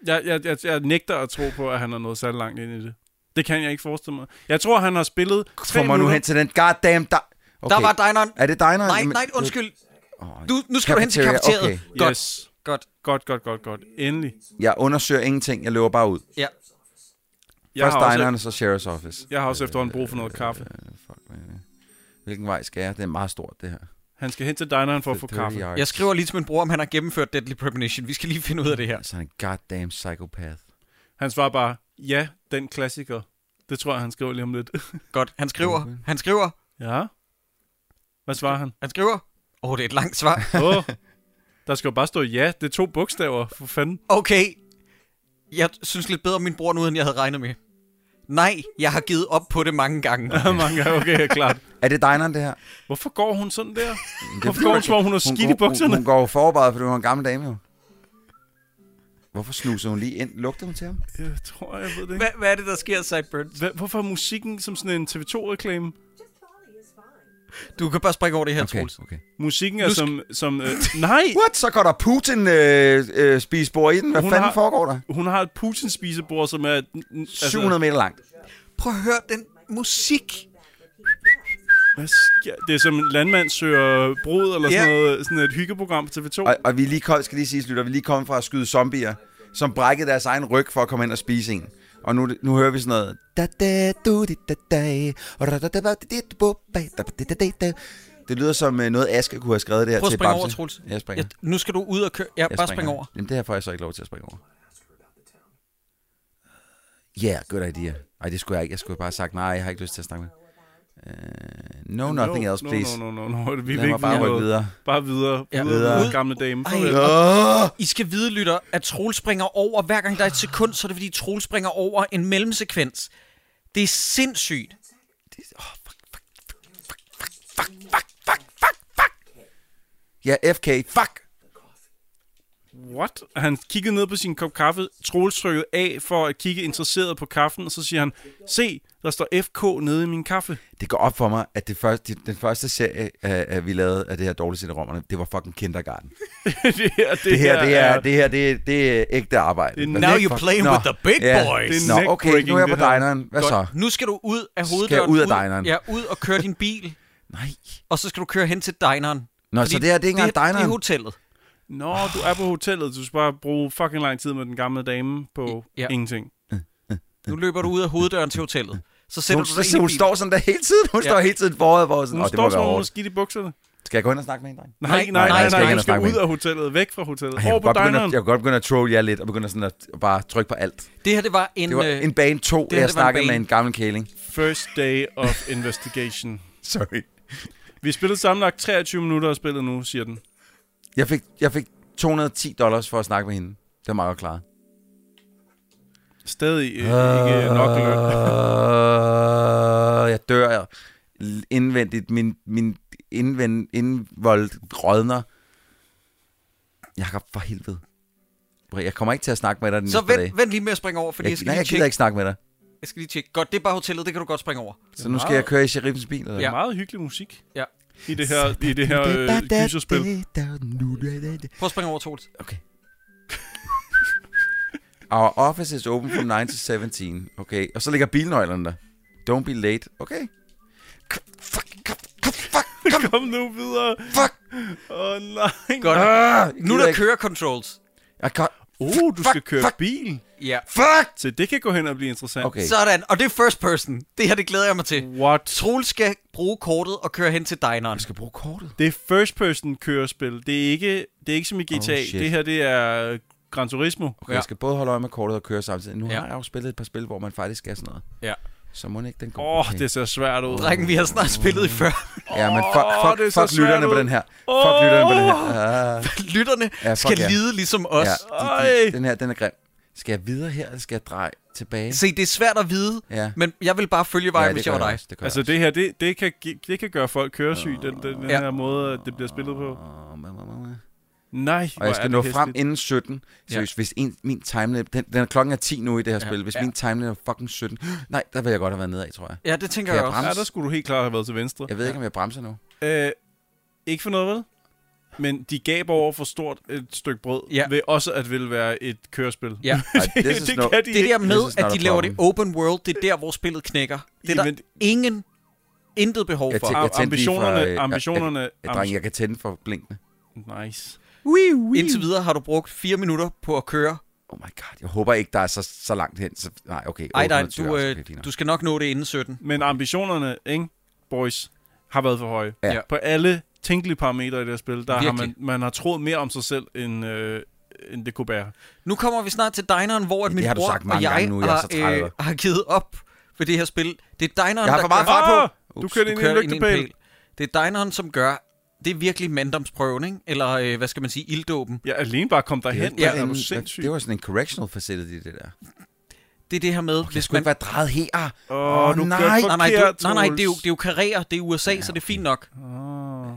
Speaker 2: Jeg, jeg, jeg, jeg nægter at tro på, at han er nået særlig langt ind i det. Det kan jeg ikke forestille mig. Jeg tror, han har spillet tre
Speaker 3: Kommer nu
Speaker 2: minutter.
Speaker 3: hen til den goddamn der... Okay.
Speaker 1: Der var dineren.
Speaker 3: Er det dig,
Speaker 1: Nej, nej, undskyld.
Speaker 3: Oh,
Speaker 1: Du, nu skal du hen til kafeteriet.
Speaker 3: Okay.
Speaker 1: Godt,
Speaker 2: Yes.
Speaker 1: godt.
Speaker 2: Godt, godt, godt, godt. Endelig.
Speaker 3: Jeg undersøger ingenting. Jeg løber bare ud.
Speaker 1: Ja.
Speaker 2: Jeg
Speaker 3: Først
Speaker 2: har, også,
Speaker 3: dineren, så sheriff's office.
Speaker 2: jeg har også efterhånden brug for noget kaffe.
Speaker 3: Øh, fuck, hvad er det? Hvilken vej skal jeg? Det er meget stort, det her.
Speaker 2: Han skal hen til dineren for at
Speaker 3: The
Speaker 2: få
Speaker 3: Dirty
Speaker 2: kaffe.
Speaker 3: Arts.
Speaker 1: Jeg skriver lige til min bror, om han har gennemført Deadly Premonition. Vi skal lige finde ud af det her.
Speaker 3: Altså en goddamn psychopath.
Speaker 2: Han svarer bare, ja, den klassiker. Det tror jeg, han skriver lige om lidt. (laughs)
Speaker 1: Godt. Han skriver. Han skriver.
Speaker 2: ja. Hvad svarer
Speaker 3: (laughs)
Speaker 2: han?
Speaker 1: Han skriver. Åh, oh, det er et langt svar.
Speaker 2: Åh, oh, der skal jo bare stå ja. Det er to bogstaver, for fanden.
Speaker 1: Okay. Jeg synes lidt bedre om min bror nu, end jeg havde regnet med. Nej, jeg har givet op på det mange (laughs) gange.
Speaker 2: Mange gange, okay, ja, klart.
Speaker 3: Er det dineren, det her?
Speaker 2: Hvorfor går hun
Speaker 3: (laughs)
Speaker 2: sådan der?
Speaker 3: Det
Speaker 2: Hvorfor går hun, som om hun har skidt i
Speaker 3: går- Hun,
Speaker 2: bukserne?
Speaker 3: hun går jo forberedt, fordi hun er en gammel dame jo. Hvorfor snuser hun lige ind? Lugter hun til ham?
Speaker 2: Jeg tror, jeg ved det ikke.
Speaker 1: Hvad, hvad er det, der sker, Sideburns?
Speaker 2: Hva? Hvorfor er musikken som sådan en TV2-reklame?
Speaker 4: Just Polly is fine.
Speaker 1: Du kan bare springe over det her, okay.
Speaker 3: Okay,
Speaker 1: Troels.
Speaker 3: okay.
Speaker 2: Musikken er
Speaker 1: Nu sk-
Speaker 2: som... som øh, nej!
Speaker 3: What? Så går der Putin øh, øh, spisbord i den. Hvad
Speaker 2: Hun
Speaker 3: fanden
Speaker 2: har-
Speaker 3: foregår der?
Speaker 2: Hun har et Putin-spisebord, som er... n- n- altså,
Speaker 3: 700 meter langt.
Speaker 1: Prøv at høre den musik.
Speaker 2: Hvad sker? Det er som en landmand søger brud, eller sådan,
Speaker 1: Ja.
Speaker 2: noget, sådan et hyggeprogram på TV2.
Speaker 3: Og, og vi er lige kom, skal lige sige, lytter, vi er lige kommet fra at skyde zombier, som brækkede deres egen ryg for at komme ind og spise en. Og nu, nu hører vi sådan noget. Da, da, du, di, da, da, og da, da, da, ba, di, di, du, bo, ba, da, ba, di, da, da, da. Det lyder som øh, noget, Aske kunne have skrevet det her
Speaker 1: Prøv at
Speaker 3: til
Speaker 1: springe
Speaker 3: Babse.
Speaker 1: over, Troels.
Speaker 3: Jeg springer.
Speaker 1: Ja,
Speaker 3: Jeg,
Speaker 1: nu skal du ud og køre. Ja,
Speaker 3: jeg
Speaker 1: bare spring
Speaker 3: springer.
Speaker 1: over.
Speaker 3: Jamen, det her får jeg så ikke lov til at springe over. Ja, yeah, good idea. Ej, det skulle jeg ikke. Jeg skulle bare have sagt, nej, jeg har ikke lyst til at snakke med. Uh, no, nothing else, please.
Speaker 2: No, no, no, no, no. Vi
Speaker 3: Lad
Speaker 2: vil
Speaker 3: mig
Speaker 2: ikke
Speaker 3: bare rykke
Speaker 2: noget.
Speaker 3: videre.
Speaker 2: Bare videre.
Speaker 1: Ja.
Speaker 2: Ja. Videre,
Speaker 3: Videre.
Speaker 2: videre. gamle dame.
Speaker 1: Ej.
Speaker 2: Farvel.
Speaker 3: Åh!
Speaker 1: I skal vide, lytter, at Troels springer over. Hver gang der er et sekund, så er det fordi, Troels springer over en mellemsekvens. Det er sindssygt.
Speaker 3: Ja, FK, fuck!
Speaker 2: What? Han kiggede ned på sin kop kaffe, Troels trykkede af for at kigge interesseret på kaffen, og så siger han, se, der står FK nede i min kaffe. (laughs)
Speaker 3: det går op for mig, at det første, den første serie, uh, vi lavede af det her dårlige sæt rommerne, det var fucking kindergarten. Det,
Speaker 2: det, her, det,
Speaker 3: her, det er, det her, det er, det er ægte arbejde.
Speaker 2: Det er
Speaker 3: Hvad
Speaker 1: Now
Speaker 3: fuck?
Speaker 1: you're playing
Speaker 3: Nå,
Speaker 1: with the big
Speaker 3: ja.
Speaker 1: boys.
Speaker 2: Det er
Speaker 3: Nå, okay, nu er jeg
Speaker 2: neckbreaking,
Speaker 3: på
Speaker 2: det her.
Speaker 3: dineren. Hvad så?
Speaker 1: Godt. Nu skal du ud af
Speaker 3: Skal jeg
Speaker 1: hoveddøren.
Speaker 3: ud af dineren?
Speaker 1: Ja, ud og køre din bil,
Speaker 3: Nej.
Speaker 1: og så skal du køre hen til dineren.
Speaker 3: Nå, så det her, det er ikke engang
Speaker 1: Det
Speaker 3: dineren.
Speaker 1: er hotellet.
Speaker 2: Nå, du er på hotellet, du skal bare bruge fucking lang tid med den gamle dame på
Speaker 1: Ja.
Speaker 2: ja. ingenting.
Speaker 1: Nu løber du ud af hoveddøren til hotellet. Så sætter
Speaker 3: Hun,
Speaker 1: du
Speaker 3: så,
Speaker 1: dig ind
Speaker 3: hun
Speaker 1: i bilen.
Speaker 3: står sådan der hele tiden. Hun
Speaker 1: Ja.
Speaker 3: ja. står hele tiden foran, hvor sådan,
Speaker 2: Hun
Speaker 3: Nå, det
Speaker 2: står
Speaker 3: må
Speaker 2: som
Speaker 3: være
Speaker 2: om hun er
Speaker 3: hårdt.
Speaker 2: skidt i bukserne.
Speaker 3: Skal jeg gå hen og snakke med en dreng?
Speaker 2: Nej,
Speaker 1: Nej,
Speaker 2: nej,
Speaker 1: nej,
Speaker 2: nej, nej,
Speaker 1: jeg skal
Speaker 2: nej,
Speaker 1: ikke
Speaker 2: du
Speaker 3: snakke
Speaker 2: skal
Speaker 3: med
Speaker 2: ud af hotellet, væk fra hotellet,
Speaker 3: Ej, Jeg
Speaker 2: over på
Speaker 3: kunne, godt begynde at,
Speaker 2: dineren.
Speaker 3: jeg kunne godt begynde at troll jer lidt, og begynde sådan at bare trykke på alt.
Speaker 1: Det her, det var en...
Speaker 3: Det var
Speaker 1: øh,
Speaker 3: en bane 2,
Speaker 1: her, det
Speaker 3: jeg
Speaker 1: var en
Speaker 3: snakkede med
Speaker 1: bane.
Speaker 3: en gammel kæling.
Speaker 2: First day of investigation.
Speaker 3: Sorry.
Speaker 2: Vi spillede sammenlagt 23 minutter af spillet nu, siger den.
Speaker 3: Jeg fik, jeg fik 210 dollars for at snakke med hende. Det var meget klart.
Speaker 2: Stadig øh, ikke nok løn.
Speaker 3: Øh, jeg dør indvendigt. Min, min indvend, indvold rådner. Jakob, for helvede. Jeg kommer ikke til at snakke med dig den
Speaker 1: Så
Speaker 3: næste dag.
Speaker 1: vent, vent lige med at springe over, fordi jeg, jeg
Speaker 3: Jeg,
Speaker 1: skal
Speaker 3: nej,
Speaker 1: lige
Speaker 3: jeg gider
Speaker 1: tjekke.
Speaker 3: ikke snakke med dig.
Speaker 1: Jeg skal lige tjekke. Godt, det er bare hotellet, det kan du godt springe over.
Speaker 3: Så nu skal jeg køre i sheriffens bil. Eller?
Speaker 2: Det er
Speaker 1: Ja.
Speaker 2: meget hyggelig musik.
Speaker 1: Ja.
Speaker 2: I det her, i det her øh, gyserspil.
Speaker 1: Prøv at springe over, Troels.
Speaker 3: Okay. Our office is open from 9 to 17. Okay, og så ligger bilnøglerne der. Don't be late. Okay. Kom, Fuck, kom, kom, fuck, kom,
Speaker 2: Kom nu videre.
Speaker 3: fuck.
Speaker 2: Åh oh, nej.
Speaker 1: Godt.
Speaker 3: Ah, jeg
Speaker 1: Nu er
Speaker 3: gider
Speaker 1: der
Speaker 3: ikke.
Speaker 1: kører controls.
Speaker 3: Jeg kan...
Speaker 2: Oh, du skal
Speaker 3: Fuck,
Speaker 2: køre
Speaker 3: fuck.
Speaker 2: bil.
Speaker 1: Ja.
Speaker 3: Fuck!
Speaker 2: Så det kan gå hen og blive interessant.
Speaker 3: Okay.
Speaker 1: Sådan, og det er first person. Det her, det glæder jeg mig til.
Speaker 2: What?
Speaker 1: Troels skal bruge kortet og køre hen til dineren.
Speaker 3: Jeg skal bruge kortet.
Speaker 2: Det er first person kørespil. Det er ikke, det er ikke som i GTA.
Speaker 3: Oh, shit.
Speaker 2: det her det er Gran Turismo.
Speaker 3: Okay,
Speaker 1: Ja.
Speaker 3: jeg skal både holde øje med kortet og køre samtidig. Nu
Speaker 1: Ja.
Speaker 3: har jeg jo spillet et par spil, hvor man faktisk skal sådan noget.
Speaker 1: Ja.
Speaker 3: Så må den ikke den gå.
Speaker 2: Åh, okay. det ser svært ud.
Speaker 1: Drengen, vi har snart spillet i før. (laughs)
Speaker 3: Ja, men fuck,
Speaker 2: Åh,
Speaker 3: fuck,
Speaker 2: det er så
Speaker 3: fuck
Speaker 2: svært
Speaker 3: lytterne på
Speaker 2: ud.
Speaker 3: den her. Fuck
Speaker 2: Åh.
Speaker 3: lytterne på den her. Ah.
Speaker 1: Lytterne
Speaker 3: Ja, fuck
Speaker 1: skal
Speaker 3: ja.
Speaker 1: lide ligesom os.
Speaker 3: Ja, de,
Speaker 2: Ej.
Speaker 3: de, den her, den er grim. Skal jeg videre her, eller skal jeg dreje tilbage?
Speaker 1: Se, det er svært at vide,
Speaker 3: Ja.
Speaker 1: men jeg vil bare følge
Speaker 3: ja,
Speaker 1: vejen,
Speaker 3: det
Speaker 1: hvis
Speaker 3: gør
Speaker 1: jeg var dig.
Speaker 3: også, det gør
Speaker 2: Altså det her, det, det, kan, gi- det kan gøre folk køresyge, den, den, den
Speaker 1: Ja.
Speaker 2: her måde, at det bliver spillet på.
Speaker 3: på.
Speaker 2: Nej,
Speaker 3: Og jeg skal nå frem inden 17.
Speaker 1: Ja.
Speaker 3: Seriøst, hvis en, min timelapse... Den, den, er- klokken er 10 nu i det her
Speaker 1: Ja.
Speaker 3: spil. Hvis
Speaker 1: Ja.
Speaker 3: min timelapse er fucking 17... (gasps) Nej, der vil jeg godt have været nede af, tror jeg.
Speaker 1: Ja, det tænker
Speaker 3: Kan
Speaker 1: jeg
Speaker 3: jeg
Speaker 1: også.
Speaker 3: bremse?
Speaker 2: Ja, der skulle du helt klart have været til venstre.
Speaker 3: Jeg ved ikke, om jeg bremser nu.
Speaker 2: Øh, ikke for noget, vel? Men de gav over for stort et stykke brød
Speaker 1: Ja.
Speaker 2: ja. ved også at ville være et kørespil.
Speaker 1: Ja.
Speaker 3: Ej, this is
Speaker 2: det kan
Speaker 3: no-
Speaker 2: de
Speaker 1: Det
Speaker 2: ikke.
Speaker 1: der med,
Speaker 3: This is
Speaker 1: at
Speaker 3: not
Speaker 1: de
Speaker 3: a
Speaker 1: laver det
Speaker 3: problem.
Speaker 1: open world, det er der, hvor spillet knækker. Det er der
Speaker 2: Jamen,
Speaker 1: ingen, intet behov
Speaker 3: Jeg
Speaker 1: for.
Speaker 3: tænker-
Speaker 2: am-
Speaker 3: tændte lige for,
Speaker 2: ambitionerne,
Speaker 3: øh, jeg-
Speaker 2: ambitionerne,
Speaker 3: Ja, dreng, jeg kan tænde for blinkene.
Speaker 2: ambi- nice.
Speaker 1: Oui, oui. Ah. Indtil videre har du brugt fire minutter på at køre.
Speaker 3: Oh my god, jeg håber ikke, der er så, så langt hen. Så, nej, okay.
Speaker 1: Ej, nej,
Speaker 3: 820
Speaker 1: du,
Speaker 3: også, altså, okay,
Speaker 1: øh,
Speaker 3: fint nok.
Speaker 1: du skal nok nå det inden 17.
Speaker 2: Men ambitionerne, ikke, boys, har været for høje.
Speaker 3: Ja.
Speaker 2: På alle tænkelige parametre i det her spil, der har
Speaker 1: Virkelig.
Speaker 2: man, man har troet mere om sig selv, end, øh, end det kunne bære.
Speaker 1: Nu kommer vi snart til dineren, hvor at
Speaker 3: Ja,
Speaker 1: min
Speaker 3: det har du
Speaker 1: bror
Speaker 3: sagt
Speaker 1: og
Speaker 3: mange
Speaker 1: jeg,
Speaker 3: gange nu, jeg er
Speaker 1: har, øh,
Speaker 3: så træt af dig.
Speaker 1: har givet op for det her spil. Det er dineren,
Speaker 3: Jeg har
Speaker 1: der
Speaker 3: for meget
Speaker 1: gør-
Speaker 3: fart
Speaker 2: Ah,
Speaker 3: på.
Speaker 2: du
Speaker 3: Ups,
Speaker 2: kørte
Speaker 1: Du
Speaker 2: ind i en
Speaker 1: kører ind i en
Speaker 2: lygtepæl.
Speaker 1: pæl. Det er dineren, som gør... Det er virkelig manddomsprøven, ikke? Eller øh, hvad skal man sige, ilddåben.
Speaker 2: Ja, alene bare kom
Speaker 3: Det er jo
Speaker 2: derhen,
Speaker 3: ikke
Speaker 2: ja,
Speaker 3: bare
Speaker 2: er du
Speaker 3: en-
Speaker 2: sindssyg.
Speaker 3: Det var sådan en correctional facility, det der.
Speaker 1: Det er det her med, okay,
Speaker 3: Jeg
Speaker 1: hvis
Speaker 3: skulle
Speaker 1: man...
Speaker 3: ikke være drejet her.
Speaker 2: Åh,
Speaker 3: Åh,
Speaker 2: du kørte
Speaker 3: nej.
Speaker 1: Nej,
Speaker 2: forkert,
Speaker 1: nej, du, nej, nej,
Speaker 2: Troels.
Speaker 1: det er jo, det er jo karriere, det er USA, ja, så det er fint nok.
Speaker 2: Åh.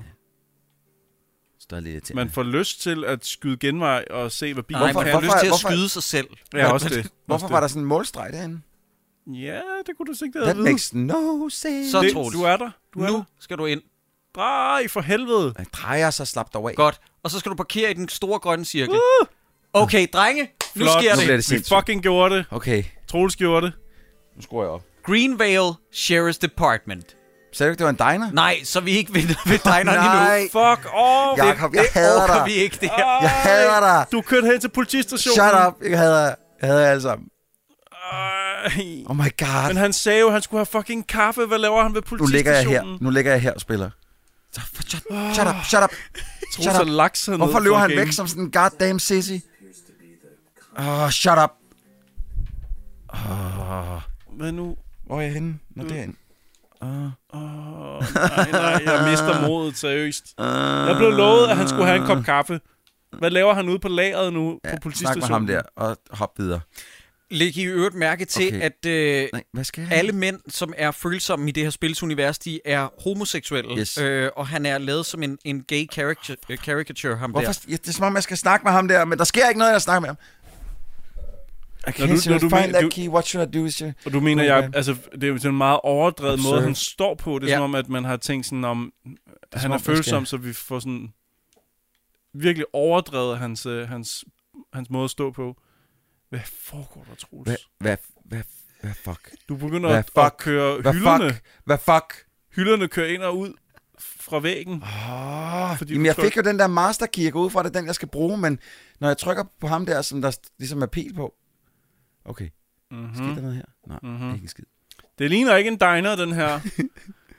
Speaker 3: Står lidt til.
Speaker 2: Man får lyst til at skyde genvej og se, hvad bilen
Speaker 1: Nej,
Speaker 3: Hvorfor-
Speaker 1: man får
Speaker 3: hvorfor-
Speaker 1: lyst til at
Speaker 3: hvorfor-
Speaker 1: skyde sig selv.
Speaker 2: Ja, også det.
Speaker 3: (laughs) Hvorfor var der sådan en målstreg derinde?
Speaker 2: Ja, det kunne du sikkert have
Speaker 3: That
Speaker 2: vide.
Speaker 3: makes no sense.
Speaker 1: Så-
Speaker 3: Så...
Speaker 2: Det-
Speaker 1: Troels.
Speaker 2: Du er der. Du er
Speaker 1: Nu
Speaker 2: der.
Speaker 1: skal du ind.
Speaker 2: Drej, for helvede.
Speaker 3: Jeg drejer så slap dig af.
Speaker 1: Godt. Og så skal du parkere i den store grønne cirkel. Okay, drenge, nu
Speaker 2: Flot.
Speaker 1: sker
Speaker 3: Nu bliver
Speaker 1: det.
Speaker 3: det
Speaker 2: Vi
Speaker 3: sindssygt.
Speaker 2: fucking gjorde det.
Speaker 3: Okay,
Speaker 2: Troels gjorde det.
Speaker 3: nu skruer jeg op.
Speaker 1: Greenvale Sheriff's Department.
Speaker 3: Sagde du ikke, det var en diner?
Speaker 1: Nej, så er vi ikke ved,
Speaker 3: (laughs)
Speaker 1: ved dineren
Speaker 3: Nej.
Speaker 1: endnu.
Speaker 2: Fuck off.
Speaker 3: Jeg- Jakob, jeg
Speaker 1: det
Speaker 3: hader
Speaker 1: orker
Speaker 3: dig. Ah.
Speaker 1: vi ikke, det her.
Speaker 3: Jeg hader dig.
Speaker 2: Du kørte hen til politistationen.
Speaker 3: Shut up. Jeg hader jer. Jeg hader jer alle sammen.
Speaker 2: Ej.
Speaker 3: Oh my god.
Speaker 2: Men han sagde jo, at han skulle have fucking kaffe. Hvad laver han ved
Speaker 3: Nu ligger jeg
Speaker 2: politistationen?
Speaker 3: her. Nu ligger jeg her og spiller. Så- for- Shut, shut up.
Speaker 2: (laughs)
Speaker 3: Shut up. Shut
Speaker 2: Troels
Speaker 3: up.
Speaker 2: er laks hernede
Speaker 3: Hvorfor
Speaker 2: for
Speaker 3: løber han
Speaker 2: game.
Speaker 3: væk som sådan en goddamn sissy? Åh, oh, shut up.
Speaker 2: Hvad nu?
Speaker 3: Hvor er jeg henne? Nå,
Speaker 2: Mm.
Speaker 3: derinde.
Speaker 2: Åh, nej, nej,
Speaker 3: (laughs)
Speaker 2: jeg mister modet seriøst. Jeg blev
Speaker 3: Ah.
Speaker 2: lovet, at han skulle have en kop kaffe. Hvad laver han ude på lageret nu ja, på
Speaker 3: Snak
Speaker 2: politistationen?
Speaker 3: med ham der, og hop videre.
Speaker 1: Læg i øvrigt mærke til,
Speaker 3: Okay.
Speaker 1: at øh,
Speaker 3: Nej, hvad skal jeg?
Speaker 1: alle mænd, som er følsomme i det her spilsunivers, de er homoseksuelle.
Speaker 3: Yes. Ah,
Speaker 1: Øh, og han er lavet som en, en gay caricature, øh, caricature ham
Speaker 3: Hvorfor?
Speaker 1: der.
Speaker 3: Ja, det er som om, jeg skal snakke med ham der, men der sker ikke noget, jeg snakker med ham. I can't
Speaker 2: du- når
Speaker 3: seem to
Speaker 2: du
Speaker 3: find
Speaker 2: mener-
Speaker 3: that
Speaker 2: du-
Speaker 3: key. What should I do? Sir?
Speaker 2: Og du mener,
Speaker 3: Okay.
Speaker 2: jeg, altså, det er jo sådan en meget overdrevet
Speaker 3: Absurd.
Speaker 2: måde, han står på. Det er
Speaker 1: Ja.
Speaker 2: som om, at man har tænkt sådan om,
Speaker 3: er
Speaker 2: han
Speaker 3: som
Speaker 2: er
Speaker 3: om, der
Speaker 2: følsom, så vi får sådan virkelig overdrevet hans, øh, hans, hans måde at stå på. Hvad foregår der, Troels?
Speaker 3: Hvad, hvad, hvad, hvad fuck?
Speaker 2: Du begynder
Speaker 3: Hvad
Speaker 2: at,
Speaker 3: fuck?
Speaker 2: at køre
Speaker 3: Hvad
Speaker 2: hylderne.
Speaker 3: fuck? Hvad fuck?
Speaker 2: Hylderne kører ind og ud. fra væggen.
Speaker 3: Oh,
Speaker 2: Fordi du
Speaker 3: jamen, jeg
Speaker 2: trykker-
Speaker 3: fik jo den der masterkey, jeg går ud fra, at det er den, jeg skal bruge, men når jeg trykker på ham der, som der ligesom er pil på. Okay, skete der
Speaker 2: Mm-hmm.
Speaker 3: noget her? Nej, mm-hmm. ikke en skid.
Speaker 2: Det ligner ikke en diner, den
Speaker 3: (laughs)
Speaker 2: her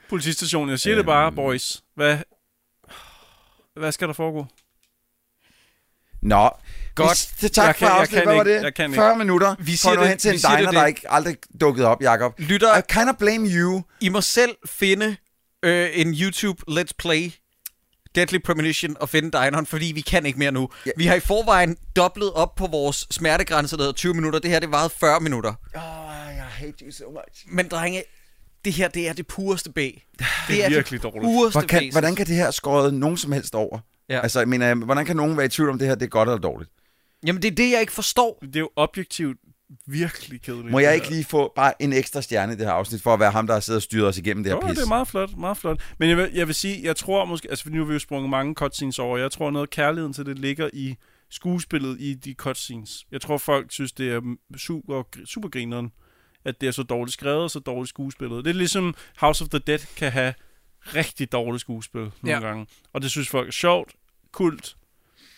Speaker 2: politistation. Jeg siger det bare,
Speaker 3: Øhm.
Speaker 2: boys. Hvad, hvad skal der foregå?
Speaker 3: Nå,
Speaker 1: Godt.
Speaker 3: Det, tak
Speaker 2: Jeg
Speaker 3: for
Speaker 2: kan- jeg
Speaker 3: afsnit.
Speaker 2: kan
Speaker 3: Hvad var
Speaker 2: ikke.
Speaker 3: det?
Speaker 2: Jeg kan ikke.
Speaker 3: 40 minutter.
Speaker 1: Vi
Speaker 3: Vi
Speaker 1: siger
Speaker 3: siger du
Speaker 1: det.
Speaker 3: hen til
Speaker 1: Vi
Speaker 3: en
Speaker 1: siger det,
Speaker 3: diner, der
Speaker 1: det.
Speaker 3: ikke aldrig dukkede op, Jacob.
Speaker 1: Lytter,
Speaker 3: I kind of blame you.
Speaker 1: I må selv finde øh, en YouTube Let's Play Deadly Premonition og finde dineren, fordi vi kan ikke mere nu.
Speaker 3: Ja.
Speaker 1: Vi har i forvejen doblet op på vores smertegrænse, der hedder 20 minutter. Det her, det varede 40 minutter.
Speaker 3: Oh, I hate you so much.
Speaker 1: Men drenge, det her, det er det pureste B. Det, det
Speaker 2: virkelig dårligt.
Speaker 1: pureste
Speaker 3: Hvordan,
Speaker 1: B.
Speaker 3: hvordan kan det her skåret nogen som helst over?
Speaker 1: Ja.
Speaker 3: Ja. Altså, jeg mener, hvordan kan nogen være i tvivl om det her, det er godt eller dårligt?
Speaker 1: Jamen, det er det, jeg ikke forstår.
Speaker 2: Det er jo objektivt virkelig kedeligt.
Speaker 3: Må jeg
Speaker 2: det
Speaker 3: ikke
Speaker 2: her.
Speaker 3: lige få bare en ekstra stjerne i det her afsnit, for at være ham, der har siddet og styret os igennem det her
Speaker 2: Jo,
Speaker 3: pis?
Speaker 2: det er meget flot, meget flot. Men jeg vil, jeg vil sige, jeg tror måske, altså for nu har vi jo sprunget mange cutscenes over, jeg tror noget af kærligheden til det ligger i skuespillet i de cutscenes. Jeg tror folk synes, det er super, super grineren, at det er så dårligt skrevet og så dårligt skuespillet. Det er ligesom House of the Dead kan have rigtig dårligt skuespil nogle
Speaker 1: Ja.
Speaker 2: ja. gange. Og det synes folk er sjovt, kult,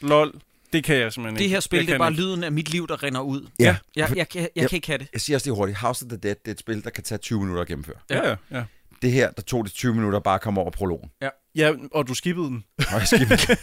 Speaker 2: lol. Det kan jeg simpelthen ikke.
Speaker 1: Det her spil,
Speaker 2: Jeg
Speaker 1: det er
Speaker 2: kan
Speaker 1: bare
Speaker 2: ikke.
Speaker 1: lyden af mit liv, der rinder ud.
Speaker 3: Ja.
Speaker 1: Jeg, jeg, jeg, jeg
Speaker 3: Ja.
Speaker 1: kan ikke have det.
Speaker 3: Jeg siger også lige hurtigt, House of the Dead, det er et spil, der kan tage 20 minutter at gennemføre.
Speaker 2: Ja, ja, ja.
Speaker 3: Det her, der tog det 20 minutter bare at komme over prologen.
Speaker 2: Ja, og du skippede den.
Speaker 3: Nå, jeg skal ikke-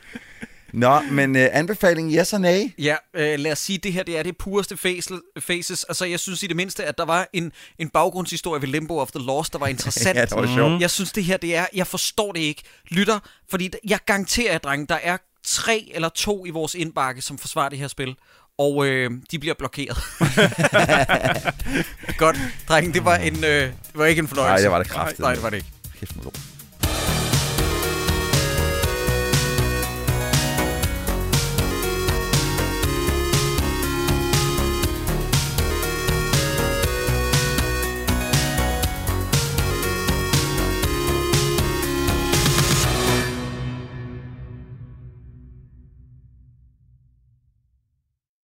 Speaker 3: (laughs) Nå, men øh, anbefaling yes og nej.
Speaker 1: Ja, øh, lad os sige, det her det er det pureste fæsel, faces. Altså, jeg synes i det mindste, at der var en, en baggrundshistorie ved Limbo of the Lost, der var interessant.
Speaker 3: (laughs) Ja, det var sjovt.
Speaker 1: Jeg synes, det her det er... Jeg forstår det ikke. Lytter, fordi d- jeg garanterer jer, drenge, der er tre eller to i vores indbakke, som forsvarer det her spil. Og øh, de bliver
Speaker 3: (laughs)
Speaker 1: blokeret. Godt, drenge, det var en... Øh, det var ikke en fornøjelse.
Speaker 3: Nej, det var det kraftigt.
Speaker 1: Nej, det var det ikke.
Speaker 3: Kæft, hvor lort.